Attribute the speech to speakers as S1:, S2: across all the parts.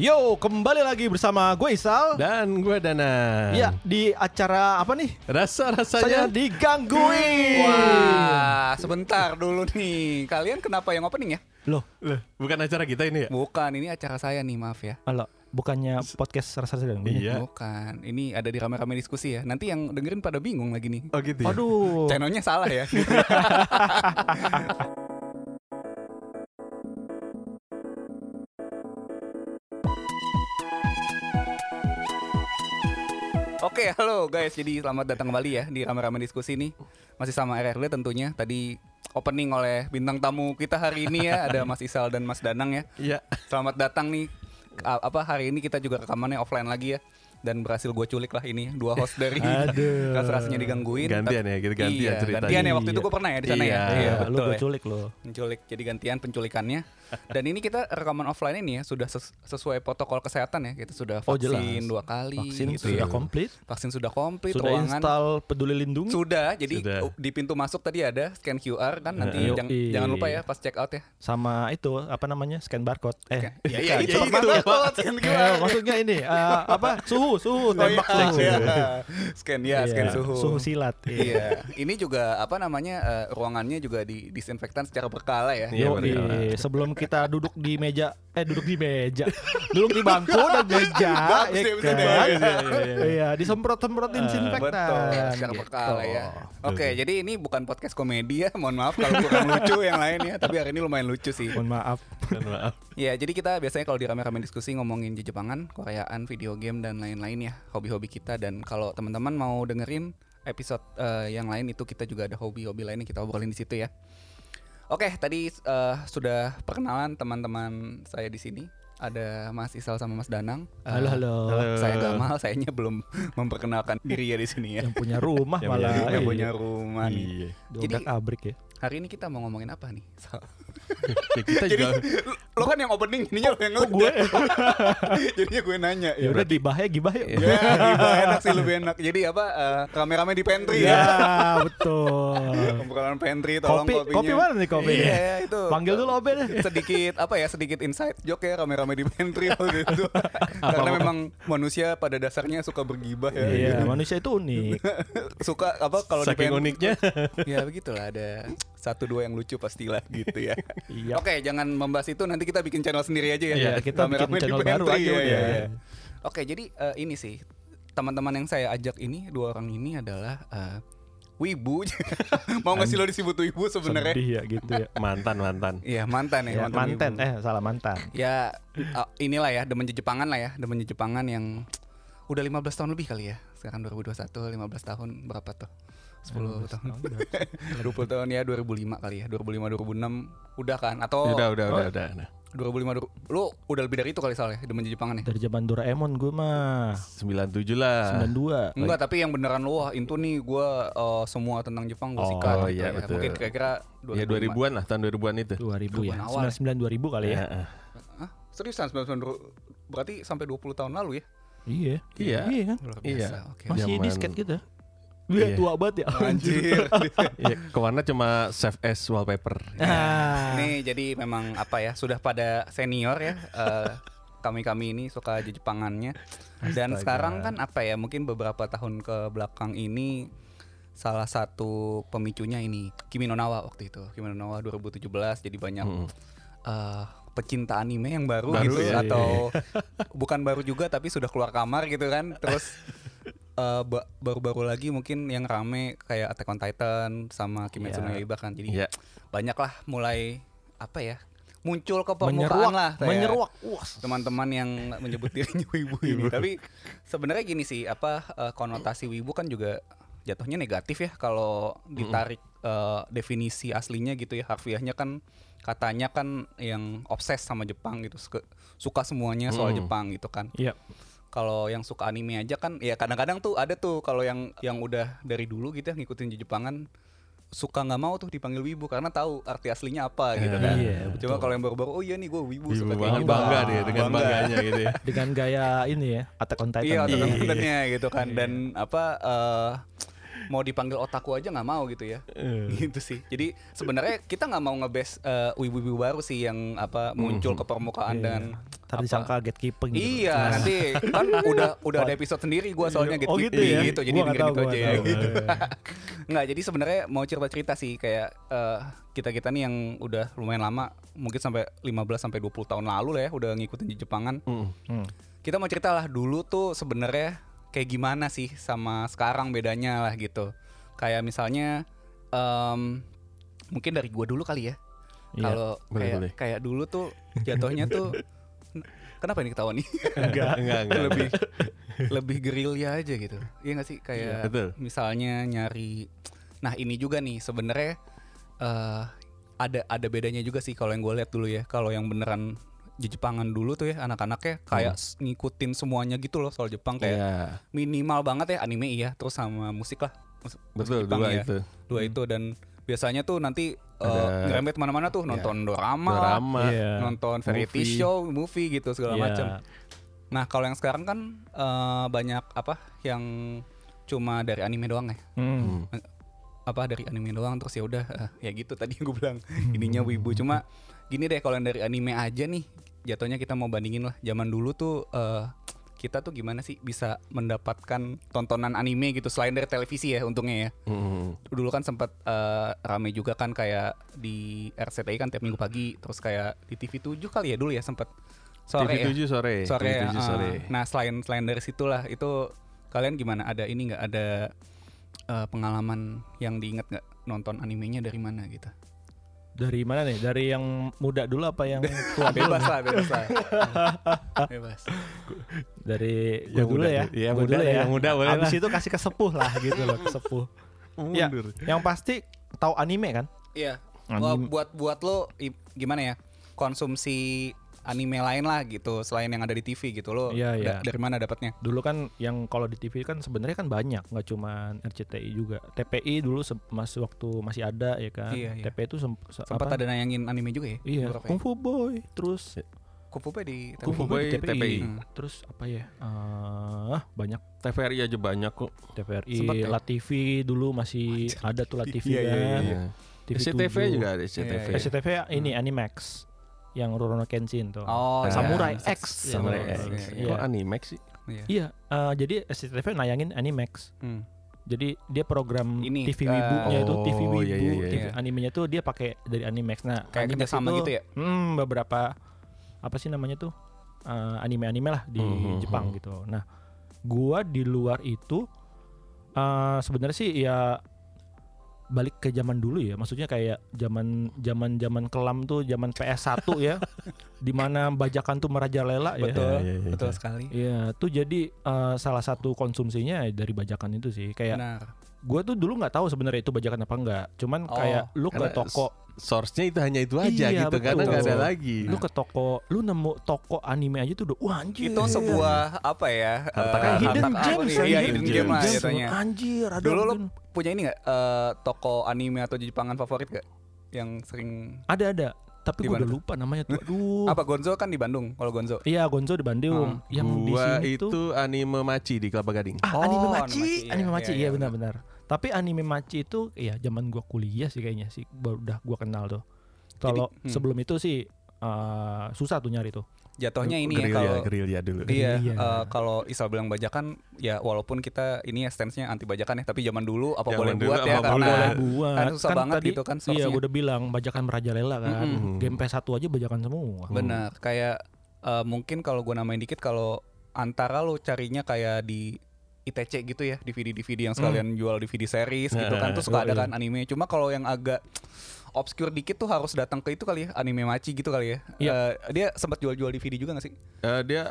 S1: Yo, kembali lagi bersama gue Isal.
S2: Dan gue Dana.
S1: Ya,
S3: Iya.
S1: di acara apa nih? Saya
S2: Rasa-rasanya
S1: digangguin.
S3: Wah, sebentar dulu nih. Kalian kenapa yang opening ya?
S1: Loh,
S2: Loh, bukan acara kita ini ya?
S3: Bukan, ini acara saya nih, maaf ya.
S1: alo, bukannya podcast rasa sedang
S2: Iya.
S3: Bukan, ini ada di rame-rame diskusi ya. Nanti yang dengerin pada bingung lagi nih.
S2: Oh gitu ya?
S1: Aduh.
S3: Channelnya salah ya. Oke, halo guys. Jadi selamat datang kembali ya di rame-rame diskusi nih. Masih sama RRD tentunya. Tadi opening oleh bintang tamu kita hari ini ya, ada Mas Isal dan Mas Danang ya.
S2: Iya.
S3: Selamat datang nih. A- Apa hari ini kita juga rekamannya offline lagi ya. Dan berhasil gue culik lah ini dua host dari
S1: Aduh.
S3: ras-rasnya digangguin.
S2: Gantian ya, kita gantian
S3: iya,
S2: ceritanya.
S3: Gantian ya waktu itu
S1: Iya.
S3: gue pernah ya di sana
S2: Iya,
S3: ya.
S1: Iya, lu
S3: betul
S1: gue
S3: ya.
S1: culik lo.
S3: Menculik. Jadi gantian penculikannya. Dan ini kita rekaman offline ini ya sudah ses- sesuai protokol kesehatan ya. Kita sudah
S1: Oh,
S3: vaksin
S1: jelas.
S3: dua kali
S1: Vaksin
S3: gitu
S1: sudah
S3: ya.
S1: komplit.
S3: Vaksin sudah komplit,
S1: Sudah
S3: ruangan
S1: install peduli lindungi.
S3: sudah. Jadi
S2: Sudah.
S3: u- di pintu masuk tadi ada scan QR kan nanti
S1: Heeh.
S3: jang-
S1: Yoi.
S3: jangan lupa ya pas check out ya.
S1: Sama itu, apa namanya? Scan barcode. Eh.
S3: Ya, ya,
S2: Bukan.
S3: itu
S2: Ya, itu,
S3: banget,
S2: Pak.
S3: scan
S1: eh,
S3: QR.
S1: maksudnya ini eh, apa suhu suhu
S3: Oh, iya,
S1: tembak suhu.
S3: iya. Scan ya, scan
S1: Iya,
S3: suhu.
S1: suhu silat
S3: Iya, ini juga apa namanya eh, ruangannya juga di disinfektan secara berkala ya.
S2: Iya,
S1: Yoi,
S2: benar.
S1: Oh, sebelum kita duduk di meja eh duduk di meja, duduk di bangku dan meja,
S3: Bagus ya, betul deh.
S1: Iya, Iya, disemprot-semprotin
S3: Betul,
S1: disinfektan.
S3: Iya, secara
S1: gitu.
S3: berkala ya. Oke, jadi ini bukan podcast komedi ya. Mohon maaf kalau kurang lucu yang lain ya, tapi hari ini lumayan lucu sih.
S1: Mohon maaf.
S2: Mohon Maaf.
S3: Ya, jadi kita biasanya kalau di rame-rame diskusi ngomongin di Jepangan, Koreaan, video game dan lain-lain ya, hobi-hobi kita dan kalau teman-teman mau dengerin episode eh, yang lain itu kita juga ada hobi-hobi lain yang kita obrolin di situ ya. Oke, tadi eh, sudah perkenalan teman-teman saya di sini. Ada Mas Isal sama Mas Danang. Eh,
S1: Halo halo.
S3: Saya Gamal, sayanya belum memperkenalkan diri ya di sini ya.
S1: Yang punya rumah
S2: Yang
S1: malah.
S2: punya rumah,
S3: Yang
S1: Iya,
S3: punya rumah nih.
S2: Iya.
S3: Jadi-
S1: Dobrak abrik ya.
S3: Hari ini kita mau ngomongin apa nih? Sal?
S2: Ya, kita
S3: Jadi
S2: juga
S3: lo kan yang opening, ininya lo yang
S1: Kok gue?
S3: Jadinya gue nanya.
S1: ya udah gibah ya gibah ya.
S3: Ya, gibah enak sih lebih enak. Jadi apa eh, rame-rame di pantry
S1: Ya,
S3: ya.
S1: betul.
S3: Kumpulan pantry tolong
S1: Kopi
S3: kopinya.
S1: kopi mana nih kopi?
S3: Iya, itu.
S1: Panggil dulu Obe deh.
S3: sedikit apa ya sedikit insight joke ya rame-rame di pantry waktu itu
S2: Apa-apa.
S3: karena memang manusia pada dasarnya suka bergibah ya
S1: Iya, manusia itu unik.
S3: suka apa kalau di
S2: saking
S3: pantry
S2: uniknya.
S3: ya begitulah ada satu dua yang lucu pastilah gitu ya.
S1: Iya.
S3: Oke, jangan membahas itu nanti kita bikin channel sendiri aja ya.
S1: Iya, kita bikin
S3: Rame-rame di
S1: channel baru
S3: pantry,
S1: aja
S3: ya,
S1: udah.
S3: ya, ya. Oke, jadi eh, ini sih teman-teman yang saya ajak ini dua orang ini adalah eh, wibu. Mau ngasih lo disebut wibu sebenarnya?
S1: Sedih ya gitu ya.
S2: Mantan-mantan.
S3: Iya, mantan ya,
S1: Ya,
S3: mantan.
S1: manten
S3: wibu.
S1: eh salah mantan.
S3: Ya eh, inilah ya demen Jepangan lah ya, demen Jepangan yang udah 15 tahun lebih kali ya. Sekarang 2021, 15 tahun berapa tuh? 10 tahun. 20 tahun ya 2005 kali ya 2005 2006 udah kan
S2: Iya,
S3: atau
S2: Udah, udah, udah, udah. Nah,
S3: 2005 du- lu udah lebih dari itu kali soalnya demen Jepangan ya
S1: Dari zaman Doraemon gue mah
S2: 97 lah.
S1: 92.
S3: enggak tapi yang beneran lu wah itu nih gua eh, semua tentang Jepang gua
S1: Oh,
S3: sikat
S2: iya,
S3: ya.
S2: betul.
S3: mungkin kira-kira
S2: Ya
S3: 2005.
S2: 2000-an lah, tahun 2000-an itu.
S1: 2000 ya.
S3: Tahun awal.
S1: 99 2000
S3: Iya.
S1: kali ya.
S2: Heeh.
S3: Hah? seriusan 99 berarti sampai 20 tahun lalu ya
S1: Iya.
S2: Iya.
S1: Iya kan?
S3: luar
S2: Iya.
S3: biasa oke
S2: Mas-
S1: Masih
S2: Zaman-
S1: disket kita.
S2: Iya.
S1: Iya, tua banget ya.
S3: anjir
S2: Iya, ke warna cuma save as wallpaper. Nah.
S1: Ah.
S3: Ini jadi memang apa ya sudah pada senior ya eh, kami-kami ini suka Jepangannya
S2: Astaga.
S3: dan sekarang kan apa ya mungkin beberapa tahun ke belakang ini salah satu pemicunya ini Kimi no Nawa waktu itu Kimi no Nawa 2017 jadi banyak
S2: Mm.
S3: eh, pecinta anime yang baru,
S2: Baru
S3: gitu
S2: ya,
S3: atau bukan baru juga tapi sudah keluar kamar gitu kan terus eh, ba- baru-baru lagi mungkin yang rame kayak Attack on Titan sama Kimetsu no
S1: Iya.
S3: Yaiba kan jadi
S2: Iya.
S3: banyaklah mulai apa ya muncul ke
S1: Menyeruak
S3: permukaan lah kayak
S1: menyeruak. Wah.
S3: teman-teman yang menyebut dirinya wibu ini tapi sebenarnya gini sih apa eh, konotasi wibu kan juga jatuhnya negatif ya kalau ditarik eh, definisi aslinya gitu ya harfiahnya kan katanya kan yang obses sama Jepang gitu suka- suka semuanya soal
S2: Mm.
S3: Jepang gitu kan
S1: Iya.
S3: kalau yang suka anime aja kan ya kadang-kadang tuh ada tuh kalau yang yang udah dari dulu gitu ya ngikutin Jepangan suka nggak mau tuh dipanggil wibu karena tahu arti aslinya apa gitu kan.
S1: Iya,
S3: Cuma kalau yang baru-baru oh iya nih gue wibu,
S2: Ibu
S3: suka
S2: bangga,
S3: kayak gitu.
S2: bangga deh dengan
S3: Bangga.
S2: bangganya gitu ya.
S1: Dengan gaya ini ya, Attack on Titan.
S3: Iya,
S1: Iya.
S3: otot-ototnya gitu kan dan apa eh, mau dipanggil otaku aja nggak mau gitu ya gitu sih jadi sebenarnya kita nggak mau ngebes eh, wibu-wibu baru sih yang apa muncul ke permukaan
S1: Iya.
S3: dan
S1: Tadi disangka gatekeeping gitu.
S3: Iya nanti kan udah udah ada episode sendiri gue soalnya gitu
S1: Oh, gitu ya?
S3: gitu jadi
S1: Gua nggak
S3: dengerin
S1: tahu,
S3: itu
S1: gua
S3: aja
S1: nggak
S3: ya
S1: tahu.
S3: gitu. Nggak jadi sebenarnya mau cerita cerita sih kayak kita kita nih yang udah lumayan lama mungkin sampai 15 sampai 20 tahun lalu lah ya udah ngikutin Jepangan.
S1: Hmm.
S3: Kita mau cerita lah dulu tuh sebenarnya kayak gimana sih sama sekarang bedanya lah gitu. Kayak misalnya em, mungkin dari gua dulu kali ya.
S1: Iya.
S3: Kalau
S2: Boleh,
S3: kayak
S2: boleh.
S3: kayak dulu tuh jatuhnya tuh kenapa ini ketawa nih?
S2: Enggak, enggak, enggak.
S3: lebih lebih gerilya aja gitu iya nggak sih kayak
S2: betul.
S3: misalnya nyari nah ini juga nih sebenarnya eh ada ada bedanya juga sih kalau yang gue lihat dulu ya kalau yang beneran di Jepangan dulu tuh ya anak-anaknya kayak s- ngikutin semuanya gitu loh soal Jepang kayak
S2: Hmm. Iya,
S3: minimal banget ya anime iya terus sama musik lah Mus- musik
S2: betul
S3: Jepang
S2: dua
S3: ya.
S2: itu. Hmm.
S3: dua itu dan biasanya tuh nanti eh,
S2: Ada-
S3: ngerembet mana-mana tuh
S2: Iya.
S3: nonton dorama, lah,
S2: Drama.
S1: Iya.
S3: nonton variety
S2: Movie.
S3: show movie gitu
S1: Iya.
S3: segala macam Nah kalau yang sekarang kan eh, banyak apa yang cuma dari anime doang ya
S1: Hmm.
S2: Hmm.
S3: apa dari anime doang terus ya udah eh, ya gitu tadi yang gue bilang ininya wibu cuma gini deh kalau yang dari anime aja nih jatuhnya kita mau bandingin lah zaman dulu tuh eh, kita tuh gimana sih bisa mendapatkan tontonan anime gitu selain dari televisi ya untungnya ya
S2: Hmm.
S3: dulu kan sempat eh, rame juga kan kayak di RCTI kan tiap minggu pagi terus kayak di TV 7 kali ya dulu ya sempat sore ya
S2: TV 7 sore.
S3: sore
S2: TV
S3: ya,
S2: 7
S3: ah.
S2: sore.
S3: Nah selain selain dari situlah itu kalian gimana? Ada ini nggak ada eh, pengalaman yang diingat nggak nonton animenya dari mana gitu?
S1: Dari mana nih? Dari yang muda dulu apa yang tua dulu?
S3: Bebas lah, bebas lah. bebas.
S1: Dari
S2: Yang
S1: gue dulu
S2: muda
S1: ya.
S2: dulu. Iya,
S1: Gua
S2: muda
S1: dulu
S2: deh, yang muda boleh
S1: Abis
S2: lah.
S1: itu kasih ke sepuh lah gitu loh, ke sepuh. Ya, yang pasti tahu anime kan?
S3: Iya. Wah,
S1: Anime.
S3: buat buat lo i- gimana ya konsumsi anime lain lah gitu selain yang ada di TV gitu lo
S1: Iya,
S3: da-
S1: iya.
S3: dari mana dapatnya?
S1: Dulu kan yang kalau di TV kan sebenarnya kan banyak, nggak cuma RCTI juga. TPI dulu se- mas waktu masih ada ya kan.
S3: Iya, iya.
S1: TPI itu semp- se-
S3: Sempat
S1: apa?
S3: ada nayangin anime juga ya?
S1: Iya,
S3: Beberapa ya?
S1: Kung Fu Boy, terus
S3: Kupu Boy di
S2: Kung Fu Boy,
S1: di
S2: TPI.
S3: Hmm.
S1: Terus apa ya? Ah, banyak
S2: TVRI aja banyak kok.
S1: TVRI,
S3: Sempet ya?
S1: LATV dulu masih ada tuh LATV
S3: Iya, iya,
S1: kan.
S2: Iya.
S1: TV
S2: SCTV
S1: 7.
S2: juga ada SCTV.
S3: Iya.
S1: SCTV ya, ini Animax yang Rurouni Kenshin tuh.
S3: Oh, iya.
S1: Samurai
S3: Iya,
S1: X.
S2: Samurai
S3: iya,
S2: X.
S3: iya, iya.
S2: Kok Animax sih?
S3: Iya.
S1: Iya, eh, jadi SCTV nayangin Animax.
S3: Hmm.
S1: Jadi dia program
S3: Ini,
S1: TV
S3: eh,
S1: wibunya itu TV
S2: Oh,
S1: wibu,
S2: iya, iya, iya.
S1: TV
S3: Iya.
S1: animenya tuh dia pakai dari Animax. Nah,
S3: Kayak
S1: Animax
S3: kerjasama gitu ya?
S1: Hmm, beberapa apa sih namanya tuh eh, anime-anime lah di
S2: Mhm,
S1: Jepang
S2: mhm.
S1: gitu. Nah, gua di luar itu eh sebenarnya sih ya balik ke zaman dulu ya. Maksudnya kayak zaman zaman zaman kelam tuh zaman PS1 ya. di mana bajakan tuh merajalela ya.
S3: Betul,
S2: iya, iya,
S3: betul
S2: iya.
S3: sekali.
S1: Iya, tuh jadi eh, salah satu konsumsinya dari bajakan itu sih.
S2: Iya.
S1: Kayak
S3: Benar.
S1: gua tuh dulu nggak tahu sebenarnya itu bajakan apa enggak. Cuman
S3: Oh,
S1: kayak lu ke
S2: karena
S1: toko,
S2: Source-nya itu hanya itu aja
S1: Iya,
S2: gitu karena
S1: betul.
S2: nggak ada lagi.
S3: iya.
S1: lu ke toko, lu nemu toko anime aja tuh udah wah anjir.
S3: itu sebuah apa ya
S2: Harta
S3: eh,
S2: karun.
S1: Iya. hidden
S3: harta-
S1: gems
S3: iya
S1: anjir.
S3: hidden
S2: Hidden
S3: gem lah
S2: gems.
S3: jatuhnya
S1: Anjir, ada
S3: dulu lo
S1: mungkin.
S3: punya ini nggak eh, toko anime atau jepangan favorit gak yang sering
S1: ada ada, tapi
S3: Di
S1: gua
S3: mana
S1: udah lupa namanya tuh. Aduh.
S3: apa Gonzo kan di Bandung kalau Gonzo
S1: Iya, Gonzo di Bandung. yang di
S2: Gua
S1: sini
S2: itu
S1: tuh
S2: anime maci di Kelapa Gading.
S1: ah,
S3: Oh,
S1: anime
S3: anime
S1: maci,
S3: maci, iya,
S1: anime maci,
S3: iya,
S1: iya
S3: iya,
S1: benar-benar. Tapi anime maci itu ya zaman gua kuliah sih kayaknya sih baru udah gua kenal tuh. Kalau
S3: hmm.
S1: sebelum itu sih eh, susah tuh nyari tuh.
S3: jatuhnya ini ya
S2: Gerilya,
S3: kalau
S2: gerilya dulu.
S3: Iya,
S1: Iya.
S3: eh, kalau Isal bilang bajakan, ya walaupun kita ini ya stance-nya anti bajakan ya, tapi zaman dulu apa
S2: Zaman
S3: boleh
S2: dulu
S3: buat
S2: apa
S3: ya
S2: boleh
S3: karena
S2: buat.
S1: Boleh buat.
S3: kan susah banget gitu kan
S1: Iya,
S3: source-nya.
S1: gua udah bilang bajakan merajalela kan.
S2: Mm-mm.
S1: Game PS1 aja bajakan semua.
S3: Benar, kayak eh, mungkin kalau gue namain dikit kalau antara lo carinya kayak di ITC gitu ya, DVD-DVD yang
S1: Hmm.
S3: sekalian jual DVD series gitu
S1: Nah,
S3: kan, tuh suka ada kan anime. Cuma kalau yang agak obscure dikit tuh harus datang ke itu kali ya, anime maci gitu kali ya.
S1: Iya.
S3: Eh, dia sempat jual-jual DVD juga gak sih?
S2: Eh, dia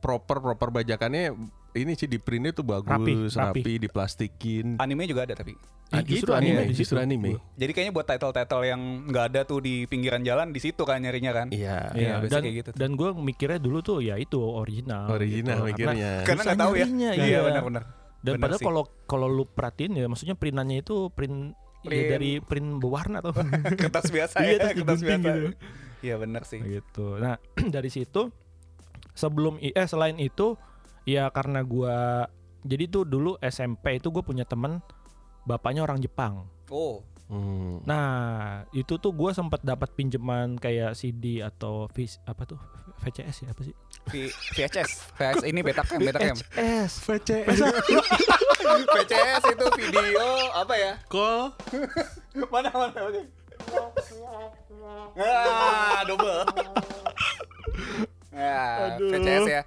S2: proper proper bajakannya ini sih di printnya tuh bagus,
S1: Rapi, rapi.
S2: rapi,
S1: Hmm.
S2: diplastikin.
S3: Anime juga ada tapi.
S1: Eh,
S2: Gitu
S1: justru anime di
S2: justru
S1: situ.
S2: anime.
S3: Jadi kayaknya buat title-title yang nggak ada tuh di pinggiran jalan di situ kan nyarinya kan.
S2: Iya.
S3: Iya,
S1: Iya,
S3: biasa
S1: dan
S3: kayak gitu tuh.
S1: dan gue mikirnya dulu tuh ya itu original.
S2: Original
S1: gitu. Karena-
S2: mikirnya.
S3: Karena
S1: Susah
S3: nggak tahu ya.
S1: nyarinya,
S3: Iya,
S1: iya.
S3: benar-benar.
S1: Dan
S3: Benar
S1: padahal
S3: sih.
S1: kalau kalau lu perhatiin ya, maksudnya printannya itu print, ya
S3: Print.
S1: dari print berwarna tuh.
S3: kertas biasa
S1: Iya,
S3: ya,
S1: terus
S3: kertas
S1: digunting
S3: biasa.
S1: gitu.
S3: Iya benar sih.
S1: gitu. Nah dari situ sebelum i- eh selain itu ya karena gua jadi tuh dulu SMP itu gue punya temen bapaknya orang Jepang.
S3: Oh,
S2: Hmm.
S1: Nah, itu tuh gua sempat dapat pinjaman kayak CD atau vis, apa tuh? VCS ya apa sih?
S3: V- VHS. VHS ini Betacam, Betacam.
S1: VCS.
S2: VCS
S3: VHS itu video apa ya?
S2: call
S3: Mana mana. mana? Ah, double. Ya, VHS ya.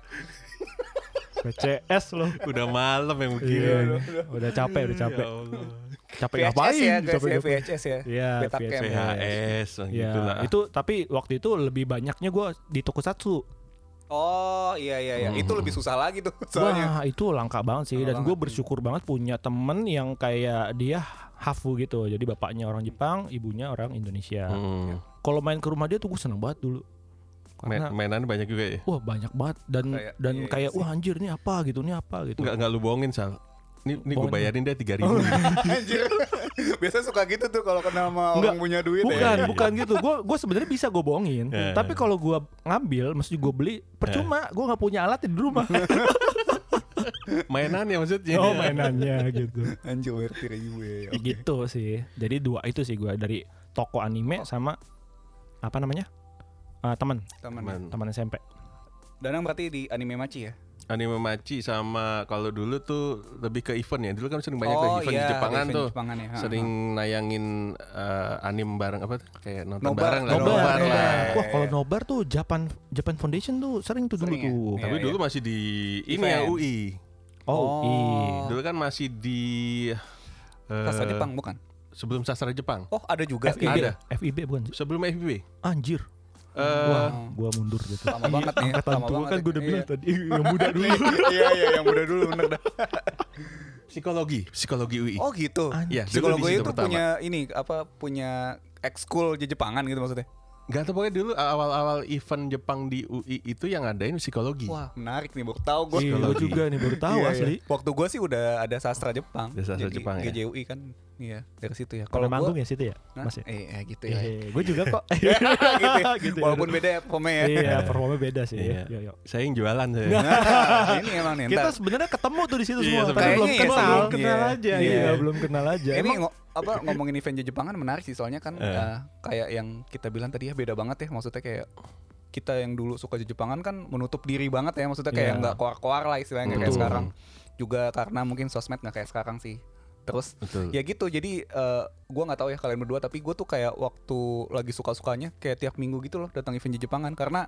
S1: VCS loh.
S2: udah malam yang begini.
S1: Iya, udah capek, udah capek.
S2: Ya Allah.
S1: Capek
S3: VHS
S1: ngapain?
S3: ya, guys
S1: Capek
S3: ya,
S1: ngapain?
S3: VHS ya.
S1: Iya,
S3: Betacam.
S1: VHS.
S2: PHS
S1: Ya,
S2: gitu lah.
S1: itu tapi waktu itu lebih banyaknya gua di Tokusatsu.
S3: Oh, iya iya iya. Itu lebih susah lagi tuh soalnya.
S1: Wah, itu langka banget sih
S3: Langka
S1: dan gue bersyukur banget punya temen yang kayak dia hafu gitu. Jadi bapaknya orang Jepang, ibunya orang Indonesia.
S2: Hmm.
S1: Kalau main ke rumah dia tuh gue seneng banget dulu.
S2: Ma-
S1: Karena
S2: mainan banyak juga ya.
S1: wah banyak banget dan
S3: Kayak-
S1: dan
S3: iya, iya
S1: kayak
S3: sih.
S1: wah anjir ini apa gitu, ini apa gitu.
S2: Enggak enggak lu bohongin Sal. Ini ini gue
S1: Bohongin. Oh.
S2: bayarin deh 3000.
S3: Anjir. Biasanya suka gitu tuh kalau kenal sama orang
S1: Enggak.
S3: punya duit ya.
S1: bukan,
S2: iya.
S1: bukan gitu. Gue gue sebenarnya bisa gue bohongin.
S3: Iya,
S2: Eh.
S1: Tapi kalau gue ngambil, maksudnya gue beli, percuma. Gue nggak punya alat di rumah.
S2: mainan ya
S3: Iya.
S2: maksudnya.
S1: oh mainannya gitu.
S3: Anjir, gue.
S1: Ya gitu sih jadi dua itu sih gua dari toko anime sama apa namanya Eh, teman
S3: Teman.
S2: Teman.
S1: teman SMP
S3: Danang berarti di anime Maci ya?
S2: Anime maci sama kalau dulu tuh lebih ke event ya. Dulu kan sering banyak tuh event
S3: iya,
S2: di Jepangan
S3: event
S2: tuh.
S3: Jepangan ya. ha,
S2: Sering nayangin eh, anim bareng apa tuh? kayak nonton
S3: Nobar.
S2: bareng lah,
S3: Nobar, iya,
S2: nobar
S3: nobar.
S2: lah.
S1: wah kalau nobar tuh Japan Japan Foundation tuh sering tuh dulu
S3: Sering ya?
S1: tuh
S3: Iya.
S2: Tapi dulu masih di ini
S3: Event.
S2: ya UI.
S1: oh, i.
S3: Oh.
S2: Dulu kan masih di
S3: ha.
S2: eh,
S3: Sastra Jepang bukan?
S2: Sebelum sastra Jepang.
S3: Oh, ada juga.
S1: FIB
S2: Ada.
S1: FIB bukan sih?
S2: Sebelum FBB.
S1: anjir
S2: Eh,
S1: wah gua mundur gitu
S3: Lama banget nih,
S1: angkatan
S3: lama
S1: tua
S3: banget
S1: kan
S3: ya.
S1: gua udah bilang
S3: Iya.
S1: tadi yang muda dulu
S3: Iya iya yang udah dulu bener dah.
S2: psikologi, psikologi UI.
S3: Oh gitu.
S1: Anjir.
S2: Iya,
S3: Psikolog
S2: dulu di
S3: gue
S2: situ
S3: itu
S2: pertama.
S3: punya ini apa punya ekskul di Jepangan gitu maksudnya.
S2: Gak tau pokoknya dulu awal-awal event Jepang di UI itu yang ngadain psikologi.
S3: Wah, menarik nih baru tahu gue.
S1: Iya, gua
S2: Psikologi.
S1: juga nih baru tahu
S3: Iya, iya.
S1: asli
S3: Waktu gue sih udah ada sastra Jepang.
S2: Ada sastra
S3: Jadi
S2: Jepang ya.
S3: GJUI kan. Iya, dari situ ya.
S1: kalau manggung
S3: gua-
S1: ya situ ya
S3: Hah?
S1: mas ya
S3: Eh, eh, gitu ya.
S1: Eh, gua juga kok
S3: gitu ya.
S1: Gitu ya.
S3: Walaupun beda ya pemain ya.
S1: iya performa beda sih
S2: Iya.
S1: Yuk, yuk.
S2: Saya yang jualan saya.
S3: Nah, ini emang nih.
S1: Kita
S3: ntar.
S1: sebenarnya ketemu tuh di situ
S2: Iya,
S1: semua. Tapi
S2: sebenarnya.
S1: belum
S3: Kayaknya
S1: kenal,
S3: iya
S1: belum
S3: sih.
S1: kenal
S3: Iya.
S1: aja.
S3: Iya.
S1: Iya, belum kenal aja.
S3: Ini
S1: Emang
S3: ngo- apa ngomongin event di Jepangan menarik sih soalnya kan
S2: Eh.
S3: eh, kayak yang kita bilang tadi ya beda banget ya maksudnya kayak kita yang dulu suka di Jepangan kan menutup diri banget ya maksudnya kayak
S1: Iya.
S3: nggak koar-koar lah istilahnya nggak kayak
S2: Betul.
S3: sekarang juga karena mungkin sosmed nggak kayak sekarang sih terus
S2: Betul.
S3: ya gitu jadi eh, gua nggak tahu ya kalian berdua tapi gue tuh kayak waktu lagi suka-sukanya kayak tiap minggu gitu loh datang event di Jepangan karena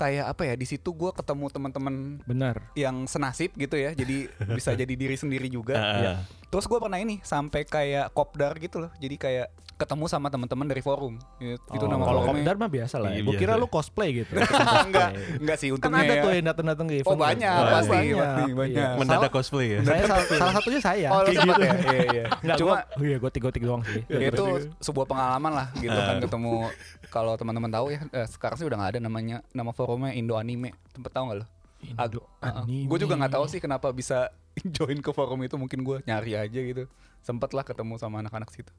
S3: kayak apa ya di situ gua ketemu teman-teman
S1: benar.
S3: yang senasib gitu ya jadi bisa jadi diri sendiri juga Ya.
S2: Ah,
S1: Iya.
S3: Terus gue pernah ini sampai kayak kopdar gitu loh. Jadi kayak ketemu sama teman-teman dari forum. Itu itu
S1: Oh,
S3: nama
S1: kalau
S3: forumnya.
S1: kopdar mah biasa lah. Ya.
S2: Iya,
S1: Gue kira
S2: biasa.
S1: lu cosplay gitu.
S3: enggak, enggak sih
S1: kan
S3: untungnya.
S1: ada
S3: ya.
S1: tuh yang datang-datang ke event.
S3: Oh, banyak,
S1: Oh,
S3: pasti, pasti, banyak.
S1: Iya.
S2: Mendadak cosplay ya.
S1: Saya salah, salah satunya saya.
S3: Oh, lu
S1: Kayak
S3: sempat
S1: gitu.
S3: ya? Iya, iya.
S1: Enggak,
S3: Cuma ya
S1: gua, oh iya gue tiga-tiga doang sih.
S3: itu sebuah pengalaman lah gitu kan ketemu kalau teman-teman tahu ya eh, sekarang sih udah nggak ada namanya nama forumnya Indo Anime. Tempat tahu nggak lo?
S1: Indo Anime.
S3: Gue juga nggak tahu sih kenapa bisa join ke forum itu mungkin gue nyari aja gitu. Sempet lah ketemu sama anak-anak situ.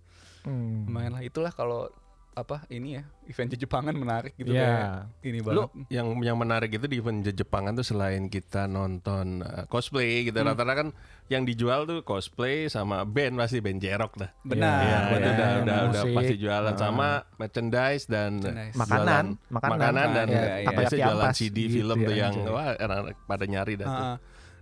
S1: Hmm.
S3: Lumayan lah itulah kalau apa ini ya event Jepangan menarik gitu kayak
S1: Iya.
S3: ini banget.
S2: Lu yang yang menarik itu di event Jepangan tuh selain kita nonton eh, cosplay gitu rata-rata kan yang dijual tuh cosplay sama band pasti band jerok dah.
S3: Benar.
S1: Iya,
S2: Ya,
S1: band
S2: itu udah
S1: jerok,
S2: udah udah
S1: musik.
S2: pasti jualan sama merchandise dan
S3: Merchandise.
S2: jualan-
S1: Makanan, makanan.
S2: dan
S3: Iya, iya.
S2: pasti
S1: Takoyaki
S2: jualan
S1: ampas
S2: CD
S1: gitu
S2: film tuh
S1: ya,
S2: yang
S1: anjay.
S2: wah anak-anak pada nyari
S1: iya.
S2: dah tuh.
S3: Heeh.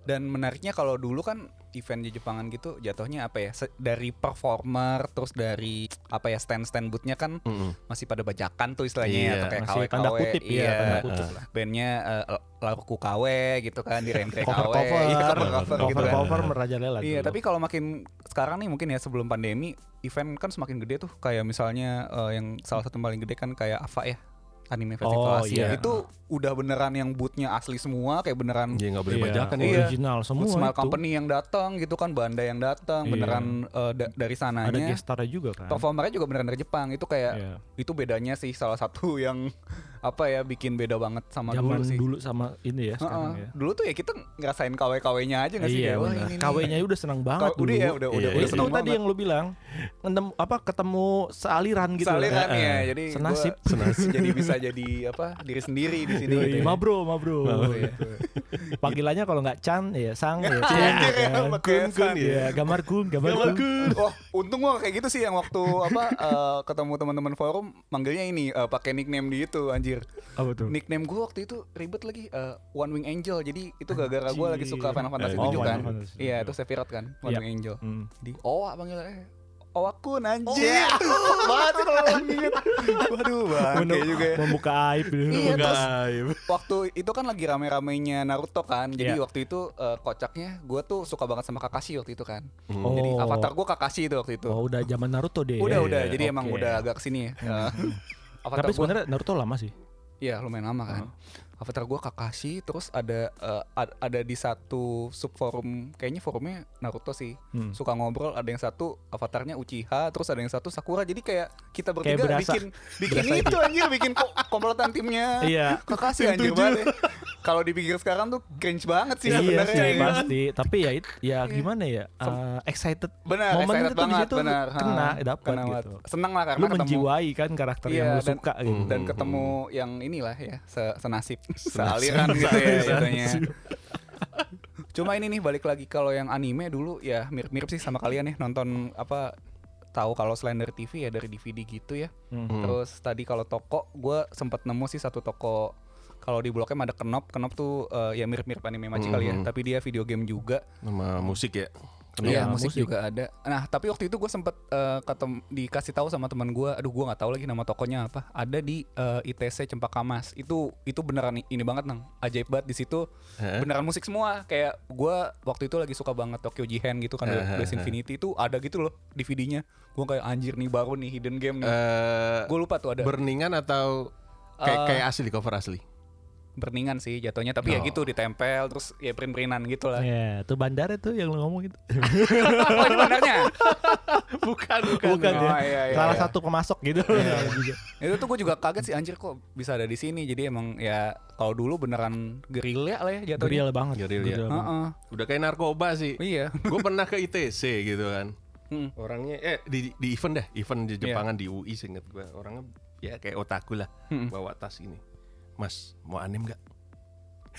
S3: Dan menariknya kalau dulu kan event di Jepangan gitu jatuhnya apa ya? se- Dari performer terus dari apa ya stand-stand boothnya kan
S2: Mm-mm.
S3: masih pada bajakan tuh istilahnya ya,
S2: Iya,
S3: atau kayak
S1: masih
S3: KW-KW.
S1: tanda kutip ya,
S3: iya.
S1: tanda kutip lah.
S3: Bandnya eh, Laruku KW gitu kan di Rente KW.
S1: Cover cover,
S3: Iya,
S1: cover
S3: cover-cover gitu
S1: cover,
S3: kan.
S1: cover merajalela.
S3: Iya,
S1: dulu.
S3: tapi kalau makin sekarang nih mungkin ya sebelum pandemi event kan semakin gede tuh kayak misalnya eh, yang salah satu yang paling gede kan kayak AVA ya anime
S1: Oh,
S3: festival Asia
S1: iya.
S3: itu udah beneran yang bootnya asli semua kayak beneran
S2: Iya, nggak boleh
S1: Iya,
S2: bajakan ya.
S3: Iya.
S1: original semua
S3: small
S1: itu.
S3: company yang datang gitu kan Banda yang datang
S1: Iya.
S3: beneran eh, da- dari
S1: Ada
S3: sananya
S1: gestarnya juga kan.
S3: performernya juga beneran dari Jepang itu kayak
S1: Iya.
S3: itu bedanya sih salah satu yang apa ya bikin beda banget sama
S1: Zaman
S3: dulu sih
S1: dulu sama ini ya sekarang
S3: Heeh.
S1: ya.
S3: Dulu tuh ya kita ngerasain KW-KW-nya aja nggak sih?
S1: Iya,
S3: Kayak, wah,
S1: benar.
S3: ini nih.
S1: KW-nya udah senang banget
S3: Udah
S1: dulu.
S3: ya, udah udah
S2: Iya,
S3: udah
S2: iya.
S1: itu
S3: seneng
S1: tadi
S3: banget.
S1: yang lu bilang, ngetem- apa ketemu sealiran gitu.
S3: Saliran
S1: Heeh.
S3: ya, jadi gua
S1: senasib. Iya,
S2: Senasib.
S3: jadi bisa bisa jadi apa diri sendiri di sini gitu.
S1: Yoi,
S3: ya.
S1: Mabro, mabro.
S3: Iya.
S1: Panggilannya kalau nggak Chan ya Sang ya. Kun,
S3: Anjir
S1: ya
S3: ya,
S1: kan.
S3: pakai
S2: Kun, kun,
S3: san.
S1: Iya, gambar kun, gambar
S2: Gambar
S1: kun.
S3: Wah, Oh, untung gua kayak gitu sih yang waktu apa eh, ketemu teman-teman forum manggilnya ini eh, pakai nickname di itu anjir.
S1: Apa tuh?
S3: Nickname gua waktu itu ribet lagi eh, One Wing Angel. Jadi itu gara-gara gua lagi suka Final Fantasy
S2: Eh,
S3: 7
S2: oh,
S3: kan.
S1: Final Fantasy
S3: Iya,
S1: 7.
S3: itu Sephiroth kan, One
S1: Iya.
S3: Wing Angel.
S1: Hmm.
S3: Di Owa panggilnya. Owa kun anjir. Banget sih kalau orang inget. Waduh, bangke
S1: Untuk
S3: juga. ya.
S1: Membuka aib gitu.
S3: Iya, terus-
S2: Gaib.
S3: Waktu itu kan lagi rame-ramenya Naruto kan. Jadi
S1: Iya.
S3: waktu itu eh, kocaknya gua tuh suka banget sama Kakashi waktu itu kan.
S1: Oh.
S3: Jadi avatar gua Kakashi itu waktu itu.
S1: Oh, udah zaman Naruto deh.
S3: Udah
S2: Iya,
S3: udah,
S2: iya,
S3: jadi emang
S1: oke.
S3: udah agak kesini ya. Eh,
S1: Tapi
S3: Avatar gua,
S1: sebenarnya Uh-huh. Naruto lama sih.
S3: iya lumayan lama kan. Avatar gua Kakashi, terus ada eh, ad- ada di satu subforum, kayaknya forumnya Naruto sih.
S1: Hmm.
S3: Suka ngobrol, ada yang satu avatarnya Uchiha, terus ada yang satu Sakura. Jadi kayak kita bertiga
S1: berasa.
S3: bikin bikin
S1: Berasa gitu.
S3: itu anjir, bikin ko- komplotan timnya.
S1: Iya.
S3: Kakashi anjir banget. ya. Kalau dipikir sekarang tuh cringe banget sih
S1: iya
S3: sebenarnya.
S1: sih
S3: ya kan?
S1: pasti. Tapi ya it- ya gimana ya? eh, excited.
S3: Benar,
S1: Momen
S3: Ya, excited
S1: itu di
S3: banget,
S1: situ
S3: benar. Ha,
S1: kena dapat
S3: kena banget.
S1: gitu.
S3: Seneng lah karena
S1: Lu
S3: ketemu
S1: menjiwai kan karakter yang
S3: Iya,
S1: lu
S3: dan-
S1: suka gitu.
S3: dan
S2: Mhm.
S3: ketemu yang inilah ya se- senasib sealiran gitu ya jatuhnya. cuma ini nih balik lagi kalau yang anime dulu ya mirip-mirip sih sama kalian ya nonton apa tahu kalau selain dari TV ya dari DVD gitu ya
S1: Hmm.
S3: terus tadi kalau toko gue sempat nemu sih satu toko kalau di bloknya ada Kenop Kenop tuh eh, ya mirip-mirip anime maci
S1: Hmm,
S3: kali ya
S2: Mhm.
S3: tapi dia video game juga
S2: Nama musik ya.
S1: Iya,
S3: Iya musik,
S1: musik.
S3: juga ada. Nah tapi waktu itu gue sempet eh, ketem- dikasih tahu sama teman gue, aduh gue nggak tahu lagi nama tokonya apa. Ada di eh, ITC Cempaka Mas. Itu itu beneran i- ini banget nang, ajaib banget di situ.
S1: Eh?
S2: Hah?
S3: Beneran musik semua. Kayak gue waktu itu lagi suka banget Tokyo Jihen gitu kan,
S2: Eh, eh,
S3: Blast
S2: eh.
S3: Infinity itu ada gitu loh DVD-nya. Gue kayak anjir nih baru nih hidden game nih.
S2: Eh,
S3: gue lupa tuh ada
S2: Berningan atau kayak
S3: Eh.
S2: kayak asli cover asli?
S3: berningan sih jatuhnya, tapi
S2: Oh.
S3: ya gitu ditempel terus ya print-printan gitu lah.
S1: Iya, tuh bandara tuh yang lu ngomong itu.
S3: oh ini benarnya.
S2: bukan,
S1: Bukan
S3: Oh,
S1: ya.
S3: iya, iya,
S1: Salah
S3: iya.
S1: satu pemasok gitu.
S3: itu tuh gue juga kaget sih anjir kok bisa ada di sini jadi emang ya kalau dulu beneran gerilya lah ya jatuhnya
S1: Real banget.
S2: Real ya.
S1: Real banget.
S3: Heeh.
S2: Udah kayak narkoba sih.
S3: iya
S2: Gue pernah ke ITC gitu kan.
S3: Hmm.
S2: Orangnya eh di, di event deh, event
S3: Iya.
S2: di Jepangan di UI seinget gue. Orangnya ya kayak otaku lah,
S3: Hmm.
S2: bawa tas ini. Mas, mau anim gak?